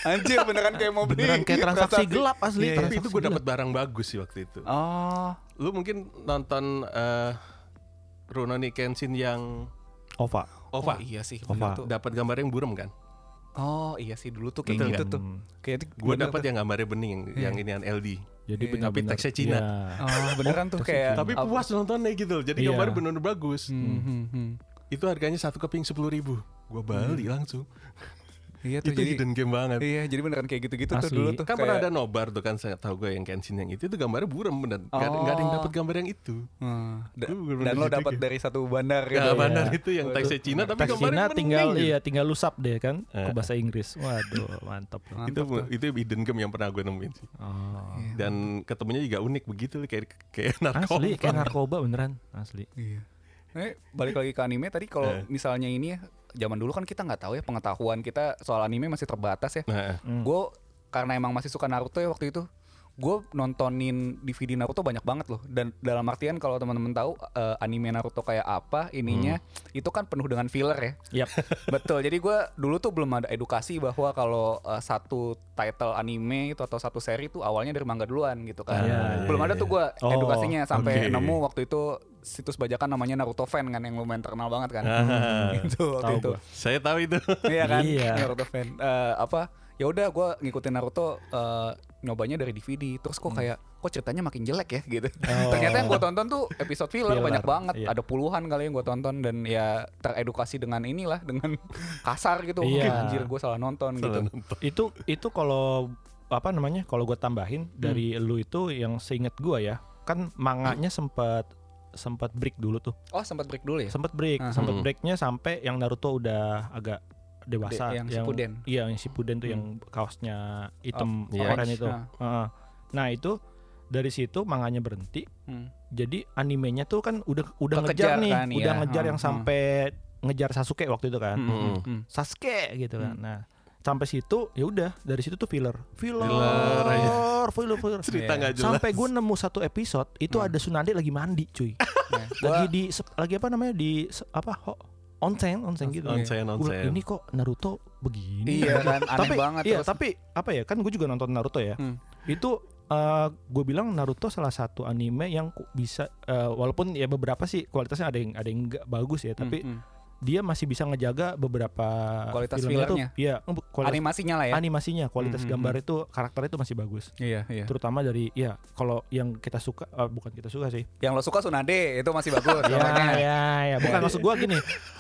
S3: anjir beneran kayak mau beli
S1: Beneran
S2: Iya,
S1: kayak transaksi gelap asli.
S3: Iya,
S2: Asli,
S3: Eh,
S2: tapi
S1: transaksi
S2: itu gue
S1: gelap.
S2: dapat barang bagus sih waktu itu.
S3: oh
S2: Lu mungkin nonton eh Rurouni Kenshin yang
S1: Ova.
S2: OVA,
S3: oh, iya sih
S1: Ova.
S3: bener tuh.
S2: dapat gambar yang burem kan?
S3: oh iya sih dulu tuh kayak
S2: Betul
S3: gitu
S2: kan?
S3: tuh kayak itu
S2: Gue
S3: bener
S2: dapat
S3: tuh.
S2: yang gambarnya bening, yang,
S3: Iya.
S2: yang inian LD.
S1: Jadi
S3: Iya,
S1: benar-benar.
S2: tapi teksnya Cina.
S1: Iya.
S3: oh beneran tuh kayak
S2: Tapi
S3: apa-
S2: puas nontonnya gitu, jadi
S1: Iya.
S2: gambarnya bener-bener bagus.
S3: Hmm, hmm, hmm.
S2: Itu harganya satu keping sepuluh ribu. Gue balik langsung.
S3: iya
S2: Itu
S3: tuh jadi
S2: hidden game banget.
S3: iya jadi beneran kayak gitu gitu tuh
S1: Asli.
S3: dulu tuh
S2: kan pernah
S3: kayak-
S2: ada nobar tuh kan saya tahu gue yang Kenshin yang itu itu gambarnya buram bener nggak ada- nggak ada yang dapat gambar yang itu
S3: Hmm. Da-
S2: Lu bener-bener
S3: dan lo
S2: gitu
S3: dapat
S2: kayak-
S3: dari satu bandar gitu
S2: Nah,
S3: ya.
S2: benar itu yang teksnya Cina tapi
S1: Teks
S2: gambarnya
S1: Cina
S2: bening
S1: tinggal
S2: gitu.
S1: iya tinggal lu sub deh kan ke
S2: Eh.
S1: bahasa Inggris. Waduh, mantap. loh.
S2: itu itu hidden game yang pernah gue nemuin sih
S1: Oh.
S2: dan ketemunya juga unik begitu kayak kayak narkoba
S1: Asli kayak narkoba beneran, asli.
S3: Iya. Eh, balik lagi ke anime tadi kalau
S2: Eh.
S3: misalnya ini ya zaman dulu kan kita nggak tahu ya pengetahuan kita soal anime masih terbatas ya.
S2: nah,
S3: Gue karena emang masih suka Naruto ya waktu itu. Gue nontonin DVD Naruto banyak banget loh dan dalam artian kalau teman-teman tahu eh, anime Naruto kayak apa ininya itu kan penuh dengan filler ya.
S1: Yap.
S3: Betul. Jadi gue dulu tuh belum ada edukasi bahwa kalau eh, satu title anime itu atau satu seri itu awalnya dari manga duluan gitu kan.
S1: Iya,
S2: iya,
S3: belum ada
S2: iya.
S3: tuh gue
S1: Oh,
S3: edukasinya sampai
S2: oke.
S3: nemu waktu itu situs bajakan namanya Naruto Fan kan yang lumayan terkenal banget kan.
S2: Ah.
S3: itu waktu
S1: Tahu
S3: itu.
S1: gua.
S2: saya tahu itu
S3: Iya kan?
S1: Iya.
S3: Naruto Fan. Eh, apa? Ya udah gue ngikutin Naruto eh, nyobanya dari DVD. Terus kok kayak kok ceritanya makin jelek ya gitu.
S1: Oh.
S3: Ternyata yang gue tonton tuh episode filler
S1: Filler,
S3: banyak banget.
S1: iya.
S3: Ada puluhan kali yang gue tonton dan ya teredukasi dengan inilah dengan kasar gitu.
S1: Iya.
S3: Wah, Anjir gue salah nonton gitu.
S1: itu itu kalau apa namanya kalau gue tambahin dari lu itu yang seinget gua ya kan manganya sempat sempat break dulu tuh
S3: Oh sempat break dulu ya?
S1: sempat break
S3: Aha.
S1: sempat breaknya sampai yang Naruto udah agak dewasa
S3: De- yang Shippuden.
S1: iya yang Shippuden tuh yang kaosnya hitam
S2: Oh,
S1: keren
S3: orange,
S1: itu
S3: ah.
S1: Heeh. nah itu dari situ manganya berhenti
S3: Hmm.
S1: jadi animenya tuh kan udah udah
S3: Kekejar
S1: ngejar nih
S3: kan,
S1: udah
S3: iya.
S1: ngejar yang
S3: Ah, ah.
S1: sampai ngejar Sasuke waktu itu kan
S3: Hmm, hmm, hmm.
S1: Sasuke gitu kan. Nah, sampai situ ya udah dari situ tuh filler. Filler,
S2: Filler aja.
S1: filler, filler.
S2: cerita
S3: Iya.
S2: nggak jelas
S1: Sampai gue nemu satu
S3: Hmm.
S1: episode itu ada Tsunade lagi mandi, cuy.
S3: Nah, gua-
S1: Lagi di se- lagi apa namanya? di se- apa? Ho, onsen onsen gitu ya.
S2: Onsen,
S1: Gua
S2: onsen.
S1: bilang, ini kok Naruto begini Gitu.
S3: Iya kan, aneh
S1: tapi
S3: banget
S1: iya
S3: terus.
S1: tapi apa ya kan gue juga nonton Naruto ya
S3: Hmm.
S1: itu eh gue bilang Naruto salah satu anime yang ku- bisa eh, walaupun ya beberapa sih kualitasnya ada yang ada yang nggak bagus ya tapi
S3: Hmm, hmm.
S1: dia masih bisa ngejaga beberapa
S3: Kualitas
S1: filmnya tuh
S3: fillernya.
S1: iya eh, bu- kualitas
S3: animasinya lah ya.
S1: animasinya kualitas
S2: Hmm, hmm,
S1: gambar itu karakter itu masih bagus
S3: Iya, iya.
S1: terutama dari ya kalau yang kita suka eh, bukan kita suka sih
S3: Yang lo suka Tsunade itu masih bagus.
S1: ya
S3: contohnya.
S1: ya ya bukan maksud gua gini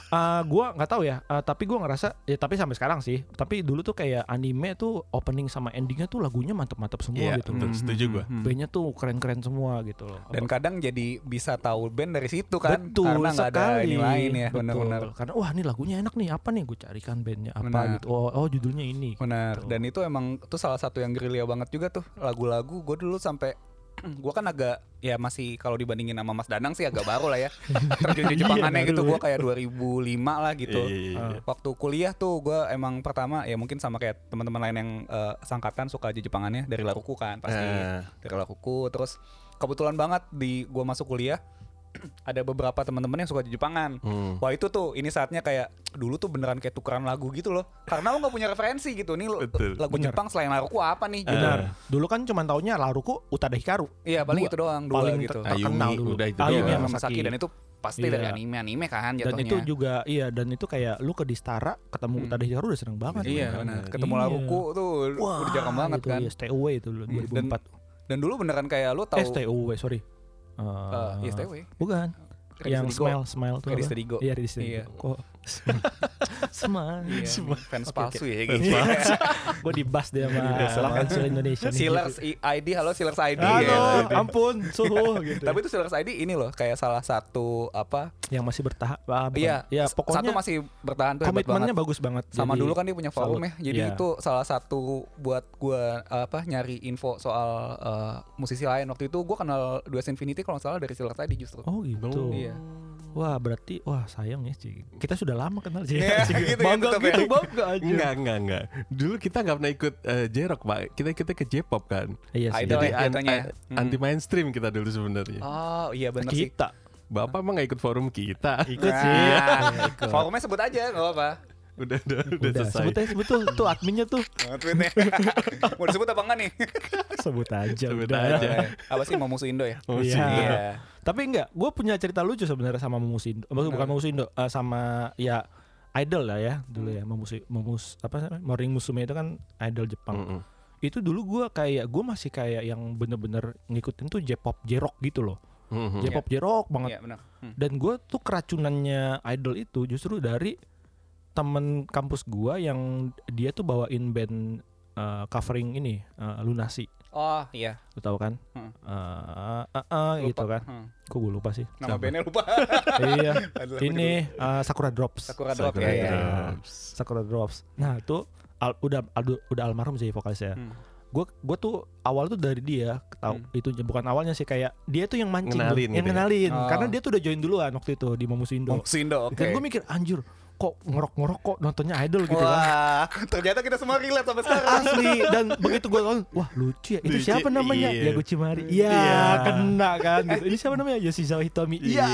S1: eh gua nggak tahu ya eh, tapi gua ngerasa ya tapi sampai sekarang sih tapi dulu tuh kayak anime tuh opening sama endingnya tuh lagunya mantep-mantep semua
S2: Iya,
S1: gitu
S2: betul. Setuju gua.
S1: bandnya tuh keren-keren semua gitu loh
S3: mm-hmm. Hmm, Dan kadang jadi bisa tahu band dari situ kan.
S1: betul
S3: karena nggak ada
S1: sekali
S3: ini lain ya,
S1: Betul.
S3: benar-benar.
S1: karena wah ini lagunya enak nih apa nih gue carikan bandnya apa
S3: Benar.
S1: gitu oh, oh judulnya ini
S3: Benar.
S1: Gitu.
S3: Dan itu emang tuh salah satu yang gerilya banget juga tuh lagu-lagu. Gue dulu sampai gue kan agak ya masih kalau dibandingin sama Mas Danang sih agak baru lah ya terjun di
S1: Iya,
S3: Jepangannya
S1: baru
S3: gitu
S1: ya.
S3: gue kayak 2005 lah gitu
S2: Iya, iya, iya.
S3: waktu kuliah tuh gue emang pertama ya mungkin sama kayak teman-teman lain yang eh, sangkatan suka aja Jepangannya dari Laruku kan pasti
S2: Eh.
S3: dari Laruku terus kebetulan banget di gue masuk kuliah ada beberapa teman-teman yang suka Jepangan
S2: Hmm.
S3: Wah itu tuh ini saatnya kayak dulu tuh beneran kayak tukeran lagu gitu loh. Karena lo nggak punya referensi gitu. Nih lo-
S2: Betul.
S3: lagu
S1: Bener.
S3: Jepang selain Laruku apa nih? gitu.
S1: benar dulu kan cuma taunya Laruku Utada Hikaru
S3: Iya paling
S1: Dua.
S3: itu doang dua
S1: paling
S3: gitu.
S1: ter- Ah, terkenal
S2: Ayumi,
S1: dulu
S2: udah itu
S1: Ayumi
S2: doang.
S3: Iya,
S1: sama
S3: sama Saki
S1: Saki
S3: dan itu pasti
S1: Iya.
S3: dari anime anime kan
S1: dan
S3: jatuhnya.
S1: itu juga iya dan itu kayak lu ke Distara ketemu
S3: Hmm.
S1: Utada Hikaru udah seneng banget
S3: Iya
S2: Bener.
S3: benar. Ketemu
S1: Iya.
S3: Laruku tuh udah jarang banget
S1: gitu,
S3: kan.
S1: iya, stay away itu dulu
S3: Iya,
S1: 2004
S3: Dan dulu beneran kayak lo tahu
S1: eh stay away sorry Eh,
S3: eh, iya, STW.
S1: bukan
S3: Ready
S1: yang
S3: Steady Go.
S1: smile smile tuh
S3: Ready
S1: apa?
S3: Steady Go.
S1: iya Ready Steady
S3: Iya.
S1: Go. kok smile
S3: Iya, fans
S1: Oke,
S3: palsu ya
S2: Fans
S3: gitu.
S1: gue di bus dia sama Council Indonesia nih.
S3: Sealers I- ID halo Sealers ID.
S1: halo
S3: Iya.
S1: ampun suhu gitu
S3: Tapi itu Sealers ID ini loh kayak salah satu apa?
S1: yang masih bertahap ah, bukan.
S3: Iya,
S1: ya
S3: s- satu
S1: pokoknya
S3: masih bertahan tuh hebat banget.
S1: komitmennya bagus banget
S3: sama
S1: Jadi,
S3: dulu kan dia punya forum
S1: salut.
S3: ya jadi
S1: Iya.
S3: itu salah satu buat gua apa nyari info soal eh, musisi lain waktu itu gua kenal Duas Infinity kalau nggak salah dari Siler tadi justru
S1: oh gitu
S3: Iya.
S1: wah berarti wah sayang ya Ci. kita sudah lama kenal sih
S3: Iya, gitu ya,
S1: bangga
S3: tetep ya.
S1: gitu bangga aja
S2: Enggak, enggak, enggak. Dulu kita nggak pernah ikut eh, J-Rock, Pak. Kita kita ke J-pop kan.
S1: iya sih
S3: Idol
S2: Jadi
S3: ya,
S2: an-
S3: jatuhnya ya.
S2: a-
S3: Hmm.
S2: anti mainstream kita dulu sebenarnya.
S3: oh iya benar sih
S1: kita
S2: Bapak emang nggak ikut forum kita.
S1: ikut
S3: Nah,
S1: sih
S3: forumnya sebut aja nggak apa-apa
S2: udah, udah,
S1: udah
S2: udah, selesai.
S1: sebut aja sebut tuh tuh adminnya tuh
S3: Nge-tweetnya. mau disebut apa enggak nih
S1: sebut aja
S2: Sebut
S1: udah.
S2: aja.
S3: apa sih mau musuh Indo ya
S2: Oh,
S1: Iya.
S2: sih.
S3: iya
S1: Tapi enggak, gue punya cerita lucu sebenarnya sama Mumus Indo. Maksud- Bukan Mumus Indo, eh, sama ya idol lah ya dulu ya Memus Memus apa namanya? Morning Musume itu kan idol Jepang.
S2: Mm-mm.
S1: Itu dulu gua kayak gue masih kayak yang bener-bener ngikutin tuh J-pop J-rock gitu loh.
S2: Mm-mm.
S1: J-pop J-rock banget.
S3: iya benar Hmm.
S1: Dan gue tuh keracunannya idol itu justru dari temen kampus gua yang dia tuh bawain band eh, covering ini eh, Lunasi,
S3: oh iya
S1: lu tahu kan?
S3: Heeh.
S1: Eh, eh, eh, gitu
S3: Lupa.
S1: kan?
S3: Hmm.
S1: Kok gue lupa sih?
S3: nama bandnya lupa
S1: iya.
S3: Aduh, aku
S1: ini uh, Sakura Drops.
S3: Sakura Drop
S2: Sakura
S3: ya, ya.
S2: Drops.
S1: Sakura Drops. Nah, itu al- udah al- udah almarhum sih vokalisnya.
S3: Hmm.
S1: Gue gue tuh awal tuh dari dia tahu itu bukan awalnya sih kayak dia tuh yang mancing tuh,
S2: Ngenalin
S1: yang
S2: gitu ya?
S1: ngenalin
S3: Oh.
S1: karena dia tuh udah join duluan waktu itu di Momus Indo.
S3: Musuh Indo oke
S1: Dan gue mikir anjur kok ngorok-ngorok kok nontonnya idol gitu kan.
S3: Wah, ternyata kita semua relate sampai sekarang.
S1: Asli dan begitu gue tonton, wah lucu ya. Itu
S2: Lucu,
S1: siapa namanya?
S2: iya.
S1: Ya Gucimari. Iya,
S2: Iya.
S1: kena kan gitu. Ini siapa namanya? Yoshizawa Hitomi. Iya,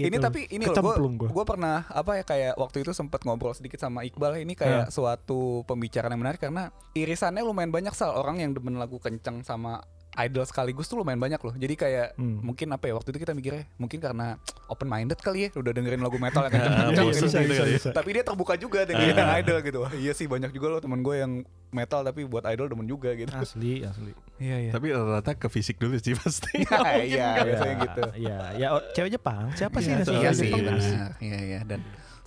S1: gitu.
S3: Ini tapi ini loh,
S1: Kecemplung
S3: gue
S1: gua.
S3: gue pernah apa ya kayak waktu itu sempat ngobrol sedikit sama Iqbal.
S1: Ah.
S3: Ini kayak suatu pembicaraan yang menarik karena irisannya lumayan banyak soal orang yang demen lagu kenceng sama idol sekaligus tuh lumayan banyak loh. Jadi kayak
S1: Hmm.
S3: mungkin apa ya waktu itu kita mikirnya mungkin karena open minded kali ya udah dengerin lagu metal
S2: Ah,
S3: yang kenceng-kenceng.
S2: bosen Ah.
S1: Iya,
S3: gitu.
S1: bisa,
S2: gitu
S1: bisa,
S2: kali ya.
S1: bisa.
S3: Tapi dia terbuka juga dengerin yang idol gitu. Wah, iya sih banyak juga loh temen gue yang metal tapi buat idol demen juga gitu.
S1: Asli, asli.
S3: Iya iya.
S2: Tapi rata-rata ke fisik dulu sih pasti.
S3: Iya biasanya gitu.
S1: Ya, ya o- cewek Jepang. Siapa sih
S3: Iya,
S1: yang suka
S3: iya
S1: cewek
S3: sih,
S1: Jepang?
S3: benar. Iya, iya. Dan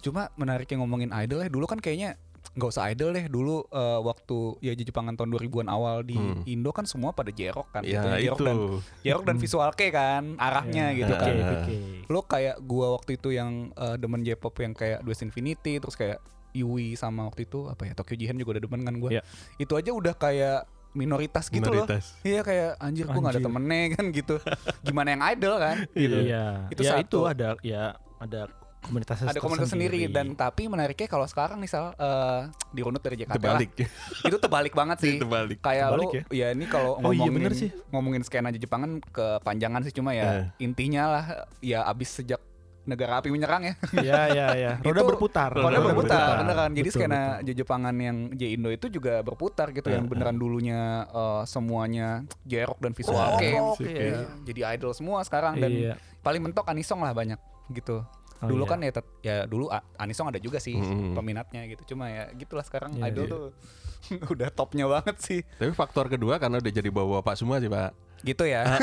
S3: cuma menariknya ngomongin idol ya dulu kan kayaknya nggak usah idol deh dulu eh, waktu ya di Jepangan tahun 2000-an awal di
S2: Hmm.
S3: Indo kan semua pada jerok kan
S2: ya
S3: jatuhnya jerok
S2: itu. Hmm.
S3: dan jerok dan visual ke kan arahnya
S1: Iya.
S3: gitu
S1: Oke,
S3: kan
S2: Ah.
S1: oke.
S3: lo kayak gua waktu itu yang eh, demen J-pop yang kayak Dues Infinity terus kayak Yui sama waktu itu apa ya Tokyo Jihen juga udah demen kan gua
S1: Iya.
S3: itu aja udah kayak minoritas gitu loh
S2: Minoritas.
S3: iya kayak anjir gua nggak ada
S1: Anjir.
S3: temennya kan gitu gimana yang idol kan gitu
S1: Iya. Itu
S3: Itu
S1: ya,
S3: satu.
S1: itu ada ya ada komunitas
S3: ada komunitas sendiri dan tapi menariknya kalau sekarang nih sal eh, dirunut dari Jakarta lah.
S2: Terbalik.
S3: itu terbalik banget sih
S2: Terbalik.
S3: kayak lu
S1: Terbalik
S3: ya, ini kalau
S1: Oh iya,
S3: ngomongin
S1: bener sih. Iya.
S3: ngomongin skena aja Jepangan kepanjangan sih cuma ya intinya lah ya abis sejak negara api menyerang ya.
S1: Iya iya iya. Roda
S3: Itu-
S1: berputar.
S3: Roda berputar, beneran. Jadi
S1: Betul,
S3: skena
S1: betul. Ya,
S3: Jejepangan yang J Indo itu juga berputar gitu, yang beneran dulunya eh, semuanya J-Rock dan Visual
S1: Oh,
S3: Kei.
S1: oke.
S3: Iya, Jadi idol semua sekarang dan
S1: Iya.
S3: paling mentok Anisong lah banyak gitu.
S1: Oh,
S3: dulu
S1: iya. Mm-hmm.
S3: kan ya tet- ya dulu A- Anisong ada juga sih
S2: Mm.
S3: peminatnya gitu. Cuma ya gitulah sekarang
S1: Iya,
S3: idol
S1: iya.
S3: tuh udah topnya banget sih.
S2: Tapi faktor kedua karena udah jadi bapak-bapak semua sih pak.
S3: Gitu ya.
S2: Ah,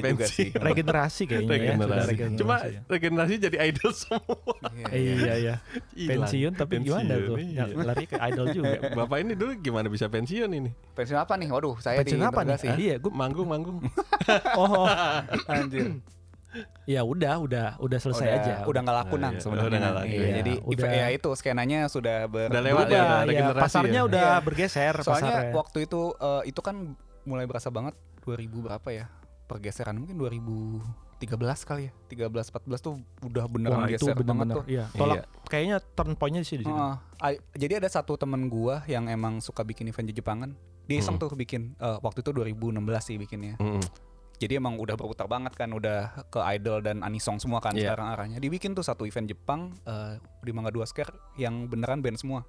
S2: udah
S3: juga
S2: pensi.
S3: sih.
S1: regenerasi kayaknya ya. sudah
S2: Regenerasi.
S1: regenerasi
S2: Cuma
S1: ya.
S2: regenerasi jadi idol semua.
S3: Iya,
S1: Eh, iya iya.
S2: Hilang.
S1: Pensiun tapi gimana
S2: Pensiun,
S1: tuh?
S2: iya.
S1: Lari ke idol juga.
S2: Bapak ini dulu gimana bisa pensiun ini?
S3: Pensiun apa nih? Waduh, saya
S1: Pensiun
S3: di
S1: apa nih?
S3: Bergasi.
S1: Iya,
S2: Gue manggung-manggung.
S1: Oh, oh.
S3: Anjir.
S1: ya udah, udah, udah selesai
S3: udah,
S1: aja.
S3: Udah nggak laku
S2: Nah,
S3: nang
S2: iya,
S3: sebenarnya.
S2: udah nggak
S3: Nang.
S2: laku.
S3: Iya,
S1: Iya,
S3: jadi
S1: udah.
S3: ya itu skenanya sudah ber
S2: Udah lewat
S1: Udah, ya,
S2: ya, udah regenerasi
S1: pasarnya
S2: ya.
S1: udah
S3: Iya.
S1: bergeser
S3: Soalnya
S1: pasarnya.
S3: waktu itu eh, itu kan mulai berasa banget 2000 berapa ya? Pergeseran mungkin 2013 kali ya. 13 14 tuh udah
S1: Wah,
S3: beneran
S1: itu
S3: geser banget
S1: benar-benar
S3: tuh. Iya.
S1: iya.
S2: Iya.
S1: Tolak kayaknya turn point-nya sih di sini.
S3: Heeh. A- jadi ada satu temen gua yang emang suka bikin event Jepangan. Dia iseng
S1: Hmm.
S3: tuh bikin eh, waktu itu 2016 sih bikinnya.
S2: Mm-mm.
S3: Jadi emang udah berputar banget kan udah ke idol dan anisong semua kan
S2: Iya.
S3: sekarang arahnya. Dibikin tuh satu event Jepang eh, di Mangga Dua Square yang beneran band semua.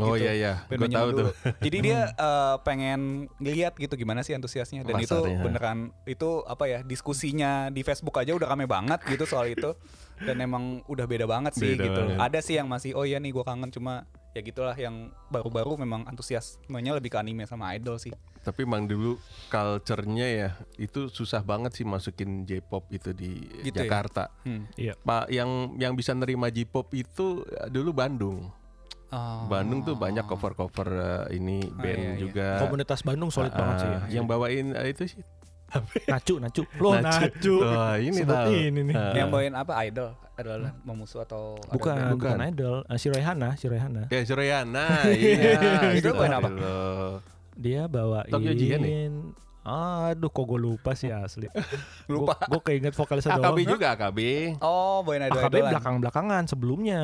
S2: Oh
S3: Gitu.
S2: iya iya, gue
S3: Band zaman
S2: tahu
S3: dulu.
S2: tuh.
S3: Jadi dia eh, pengen ngeliat gitu gimana sih antusiasnya dan
S2: Pasarnya.
S3: itu beneran itu apa ya diskusinya di Facebook aja udah rame banget gitu soal itu dan emang udah beda banget sih
S2: Beda
S3: gitu.
S2: banget.
S3: Ada sih yang masih oh iya nih gua kangen cuma ya gitulah yang baru-baru memang antusiasmenya lebih ke anime sama idol sih.
S2: Tapi emang dulu culture-nya ya itu susah banget sih masukin J-pop itu di
S3: Gitu ya?
S2: Jakarta.
S3: Hmm.
S1: Iya.
S2: Pak yang yang bisa nerima J-pop itu eh, dulu Bandung.
S3: Oh.
S2: Bandung tuh banyak cover-cover eh, ini band
S3: iya, iya.
S2: juga.
S1: Komunitas Bandung solid banget sih. ya.
S2: Ah, Yang bawain eh, itu sih.
S1: Nacu, nacu. Loh,
S3: Oh,
S1: nacu.
S2: Wah, ini
S1: Sebut
S2: tahu.
S1: ini nih.
S2: Ah.
S3: Yang bawain apa idol adalah memusuh atau
S1: Hmm.
S3: ada
S1: Bukan,
S3: band?
S1: bukan, idol. Eh, si Rehana, si Rehana.
S2: Ya Suryana, iya.
S3: Itu bawain apa?
S2: Astagfirullah.
S1: Dia bawain
S2: Tokyo Jihen nih?
S1: Aduh, kok gue lupa sih asli.
S3: Lupa.
S1: Gue keinget vokalisnya
S2: AKB
S1: doang.
S2: Ah, juga AKB.
S3: Oh, bawain idol
S1: AKB
S3: idolan.
S1: belakang-belakangan sebelumnya.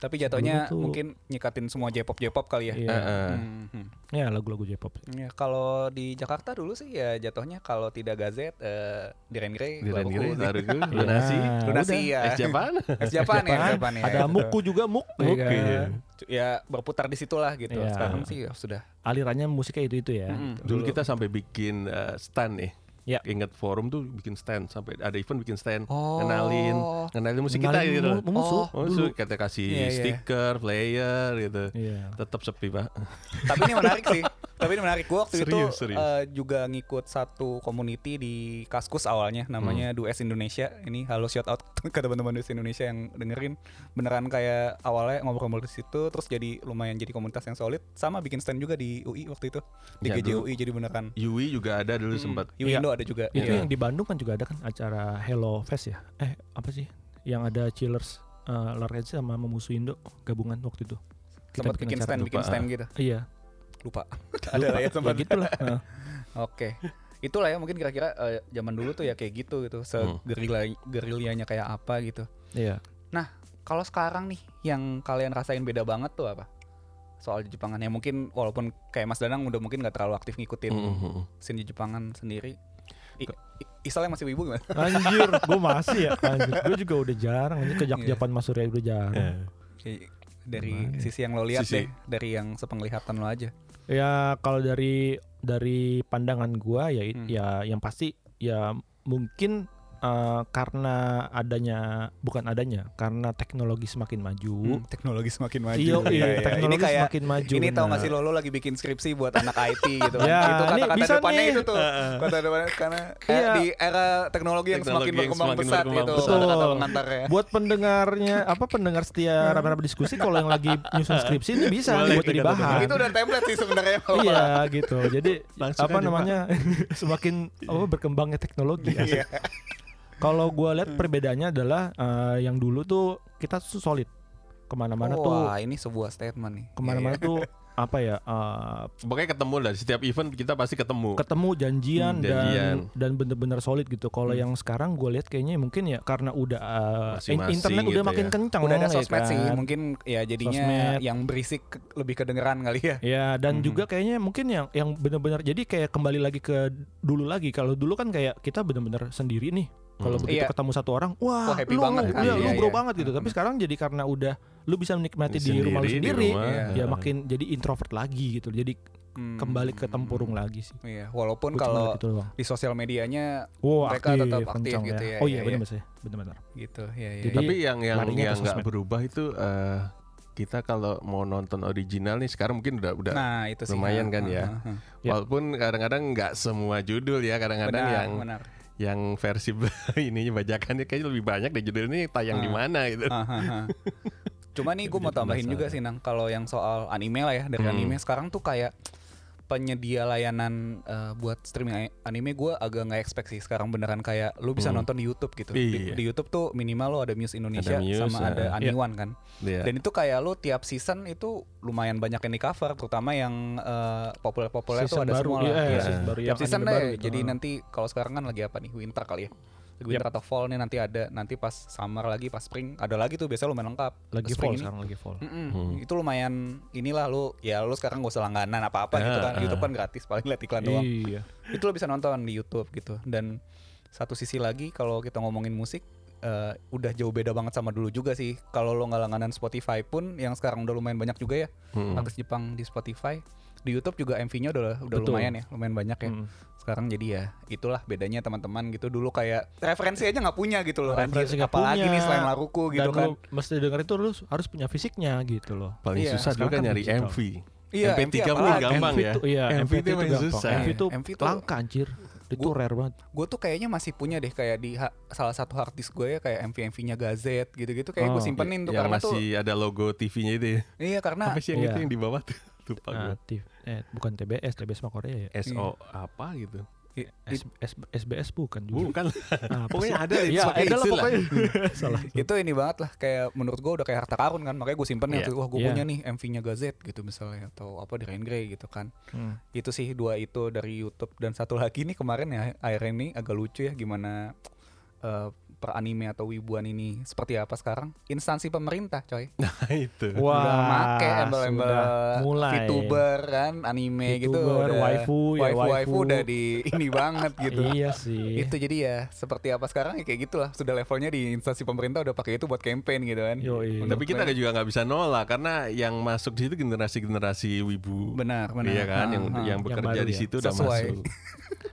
S3: Tapi jatuhnya
S1: Dulu tuh-
S3: mungkin nyikatin semua J-pop J-pop kali ya.
S1: Iya.
S2: Heeh.
S3: Hmm, hmm.
S1: Ya, lagu-lagu J-pop.
S3: Ya, kalau di Jakarta dulu sih ya jatuhnya kalau tidak gazet eh di Rengre
S2: Diren Giri, Tarugu,
S1: Ya,
S2: Lunasi,
S3: Lunasi
S1: udah.
S3: ya.
S2: Es Japan.
S3: Es Japan ya, es Japan ya.
S1: Ada
S3: gitu.
S1: Muku juga Muk. ya
S2: Oke.
S1: kan?
S3: Cu- Ya berputar di situlah gitu.
S1: Iya.
S3: Sekarang sih ya sudah.
S1: Alirannya musiknya itu-itu ya.
S3: Mm-mm.
S2: Dulu kita sampai bikin eh, stand nih.
S1: Ya.
S2: Ingat forum tuh bikin stand sampai ada event bikin stand
S3: Oh.
S2: kenalin kenalin musik
S1: Ngenalin
S2: kita gitu.
S1: mu- musuh
S2: oh,
S1: dulu.
S2: su- kita kasih
S3: Iya, iya.
S2: stiker, player gitu.
S1: Iya.
S2: Tetap sepi, Pak.
S3: Tapi ini menarik sih. Tapi ini menarik gua waktu
S2: Serius,
S3: itu
S2: serius.
S3: eh, juga ngikut satu community di Kaskus awalnya namanya
S2: Hmm.
S3: Dues Indonesia. Ini halo shout out ke teman-teman Dues Indonesia yang dengerin. Beneran kayak awalnya ngobrol-ngobrol di situ terus jadi lumayan jadi komunitas yang solid. Sama bikin stand juga di UI waktu itu. Di
S2: Ya, dulu.
S3: GJUI jadi beneran.
S2: Yui juga ada dulu sempat.
S3: UI
S1: Iya.
S3: Indo Hmm. ada juga.
S1: Itu
S3: Iya.
S1: yang di Bandung kan juga ada kan acara Hello Fest ya. Eh, apa sih? Yang ada Chillers eh Larence sama Memusuh Indo gabungan waktu itu. Kita
S3: sempat bikin
S1: acara.
S3: stand, bikin
S2: lupa,
S3: stand gitu.
S1: Iya.
S3: Lupa.
S1: Lupa.
S3: Ada lah ya sempat.
S1: Ya gitu lah. Nah,
S3: Oke. Itulah ya mungkin kira-kira eh, zaman dulu tuh ya kayak gitu gitu. Segerila gerilyanya kayak apa gitu.
S1: iya.
S3: Kalau sekarang nih yang kalian rasain beda banget tuh apa? Soal Jepangan ya mungkin walaupun kayak Mas Danang udah mungkin nggak terlalu aktif ngikutin
S2: Mm-mm.
S3: scene Jepangan sendiri. I, I- Isal yang masih wibu gimana?
S1: Anjir, gue masih ya. Anjir, gue juga udah jarang. Ini kejak
S3: Iya.
S1: Japan Mas Surya udah jarang.
S2: Eh,
S3: Kayak dari
S1: Gimana?
S3: sisi yang lo lihat
S2: Sisi-
S3: deh, dari yang sepenglihatan lo aja.
S1: Ya kalau dari dari pandangan gua ya
S3: Hmm.
S1: ya yang pasti ya mungkin eh, karena adanya bukan adanya karena teknologi semakin maju.
S3: Hmm, teknologi semakin maju.
S1: Iya,
S3: Iya,
S1: iya,
S3: iya.
S1: teknologi
S3: ini kayak
S1: semakin maju.
S3: ini tahu
S1: nah.
S3: nggak sih lo, lo lagi bikin skripsi buat anak IT gitu kan.
S1: Ya,
S3: itu
S1: ini
S3: kata-kata
S1: bisa
S3: depannya
S1: nih.
S3: itu tuh. Kata depannya karena eh,
S1: Iya.
S3: di era teknologi yang
S2: Teknologi
S3: semakin
S2: yang
S3: berkembang
S2: semakin
S3: pesat
S2: berkembang
S3: itu
S2: pesat.
S3: kata-kata
S1: Betul.
S3: pengantarnya.
S1: Buat pendengarnya apa pendengar setia raba-raba diskusi kalau yang lagi nyusun skripsi ini bisa
S2: Boleh
S1: nih buat
S2: kita
S1: jadi
S2: dengar.
S1: bahan.
S3: Iya. Itu udah template sih sebenarnya.
S1: Iya gitu. Jadi
S2: Langsung
S1: apa
S2: aja, Pak.
S1: namanya semakin apa berkembangnya teknologi.
S3: Iya.
S1: Kalau gua lihat
S3: Hmm.
S1: perbedaannya adalah eh, yang dulu tuh kita tuh solid kemana-mana tuh
S3: Oh, Wah, ini sebuah statement nih.
S1: kemana-mana
S3: Iya,
S1: tuh apa ya eh,
S2: Pokoknya ketemu lah setiap event kita pasti ketemu.
S1: ketemu janjian,
S2: Hmm, janjian.
S1: dan dan bener-bener solid gitu. Kalau
S3: Hmm.
S1: yang sekarang gue lihat kayaknya mungkin ya karena udah eh, in-
S2: Masing-masing
S1: internet udah
S2: gitu
S1: makin
S2: ya.
S1: kencang
S3: iya. Udah ada
S1: ya
S3: sosmed sih,
S1: kan?
S3: mungkin ya jadinya
S1: Sosmed.
S3: yang berisik ke- lebih kedengeran kali ya.
S1: Ya dan
S3: Mhm.
S1: juga kayaknya mungkin yang yang benar-benar jadi kayak kembali lagi ke dulu lagi. Kalau dulu kan kayak kita benar-benar sendiri nih Kalau
S2: Hmm.
S1: begitu
S3: Iya.
S1: ketemu satu orang, wah,
S3: Wah, happy
S1: lu,
S3: banget
S2: kan.
S1: iya, lu
S2: Iya,
S1: bro
S3: iya.
S1: banget gitu. Tapi sekarang jadi karena udah lu bisa menikmati di, rumah lu sendiri,
S2: di rumah.
S3: Iya.
S1: ya makin jadi introvert lagi gitu. Jadi
S3: Hmm.
S1: kembali ke tempurung lagi sih.
S3: Iya, walaupun
S1: Gua cuma
S3: kalau
S1: gitu doang.
S3: di sosial medianya
S1: Wow,
S3: mereka
S1: aktif,
S3: tetap aktif
S1: kencang
S3: gitu
S1: ya.
S3: ya,
S1: Oh
S3: iya,
S1: iya, benar
S3: iya.
S1: Mas ya. Benar-benar.
S3: gitu. Iya, iya.
S1: Jadi-
S3: iya.
S2: Tapi yang yang
S1: larinya
S2: yang
S1: ke
S2: nggak
S1: sosmed.
S2: berubah itu eh, kita kalau mau nonton original nih sekarang mungkin udah udah
S3: nah, itu sih.
S2: lumayan kan ya.
S3: Heeh.
S1: Ya.
S2: walaupun kadang-kadang nggak semua judul ya kadang-kadang
S3: Iya. Benar,
S2: yang
S3: benar.
S2: yang versi ini bajakannya kayaknya lebih banyak deh judul ini tayang di
S3: Ah.
S2: mana gitu.
S3: Hahaha. Cuma nih gue mau
S2: Jadi
S3: tambahin juga
S2: penasaran.
S3: sih nang kalau yang soal anime lah ya dari
S2: Hmm.
S3: anime sekarang tuh kayak penyedia layanan eh, buat streaming a- anime gue agak nggak expect sih sekarang beneran kayak lu bisa
S2: Hmm.
S3: nonton di YouTube gitu
S2: Iya.
S3: di, di YouTube tuh minimal lu ada Muse Indonesia
S2: Ada Muse,
S3: sama ada
S2: ah.
S3: Aniwan kan
S2: Iya.
S3: dan itu kayak lu tiap season itu lumayan banyak yang di cover terutama yang eh, populer-populer tuh
S1: Season
S3: ada
S1: baru,
S3: semua
S1: iya,
S3: lah
S1: iya,
S3: Iya.
S1: season baru
S3: tiap
S1: yang
S3: season
S1: anime
S3: deh
S1: baru gitu.
S3: jadi
S1: Ah.
S3: nanti kalau sekarang kan lagi apa nih winter kali ya winter atau fall nih nanti ada nanti pas summer lagi pas spring ada lagi tuh biasanya lumayan lengkap
S1: Lagi
S3: Spring
S1: fall
S3: ini-
S1: sekarang lagi fall.
S3: Mm-mm,
S2: Hmm.
S3: itu lumayan inilah lu ya lu sekarang gak usah langganan apa apa gitu
S2: Ah,
S3: kan
S2: ah.
S3: YouTube kan gratis paling lihat iklan doang
S1: Iya.
S3: itu lo bisa nonton di YouTube gitu dan satu sisi lagi kalau kita ngomongin musik eh, udah jauh beda banget sama dulu juga sih kalau lo nggak langganan Spotify pun yang sekarang udah lumayan banyak juga ya
S1: Hmm.
S2: Mm-mm.
S3: artis Jepang di Spotify di YouTube juga MV-nya udah udah
S1: Betul.
S3: lumayan ya lumayan banyak ya
S1: Mm.
S3: sekarang jadi ya itulah bedanya teman-teman gitu dulu kayak referensi aja nggak punya gitu loh anjir,
S1: Referensi nggak
S3: apalagi
S1: punya.
S3: nih selain laruku
S1: Dan
S3: gitu kan
S1: lu mesti denger itu lu harus punya fisiknya gitu loh.
S2: Paling
S3: Iya,
S2: susah
S1: sekarang
S2: juga
S1: kan
S2: nyari
S1: digital.
S2: MV.
S3: Iya,
S2: MP3
S3: MV
S2: pun
S3: apalagi.
S2: gampang
S1: MV
S2: ya.
S1: Itu, iya, MV, itu
S2: paling
S1: gampang.
S2: susah.
S1: MV itu
S3: MV tuh-
S1: langka anjir. Itu
S3: Gua-
S1: rare banget.
S3: gue tuh kayaknya masih punya deh kayak di ha- salah satu artis gue ya kayak MV MV-nya Gazette gitu-gitu kayak gue
S1: Oh.
S3: simpenin tuh
S2: yang
S3: karena
S2: masih
S3: tuh
S2: ada logo TV-nya itu ya.
S3: iya Ah. karena
S2: Apa sih yang
S1: iya.
S2: itu yang di bawah tuh? Lupa gue.
S1: Aktif. Eh, bukan TBS, TBS mah Korea ya.
S3: Iya.
S2: SO apa gitu.
S3: i-
S1: S- S- SBS bukan juga.
S2: Bukan.
S1: Apa
S3: Oh,
S2: pokoknya
S1: sih?
S2: ada
S3: iya,
S2: deh,
S1: Ya,
S2: pakai
S1: ada lah
S2: istilah.
S1: pokoknya. Salah.
S3: itu ini banget lah kayak menurut gue udah kayak harta karun kan makanya gue simpenin
S2: Iya.
S3: tuh wah gue
S1: Iya.
S3: punya nih MV-nya Gazette gitu misalnya atau apa di Rain Grey gitu kan
S1: Hmm.
S3: itu sih dua itu dari YouTube dan satu lagi nih kemarin ya akhirnya ini agak lucu ya gimana eh, per anime atau wibuan ini seperti apa sekarang instansi pemerintah coy
S2: Nah, itu.
S1: Wah,
S3: udah make embel-embel
S1: sudah mulai.
S3: VTuber kan anime gitu
S1: VTuber,
S3: udah
S1: waifu, ya,
S3: waifu, waifu
S1: waifu.
S3: udah di ini banget gitu.
S1: Iya sih.
S3: Itu jadi ya seperti apa sekarang ya kayak gitulah sudah levelnya di instansi pemerintah udah pakai itu buat campaign gitu kan.
S1: Yoi.
S3: Menurut
S2: Tapi kita
S3: gue-
S2: juga nggak bisa nolak karena yang masuk di situ generasi-generasi wibu.
S3: benar benar.
S2: Iya kan, yang
S3: Ah, ah.
S2: yang bekerja
S1: baru
S2: di
S1: ya.
S2: situ udah
S3: Sesuai.
S2: masuk.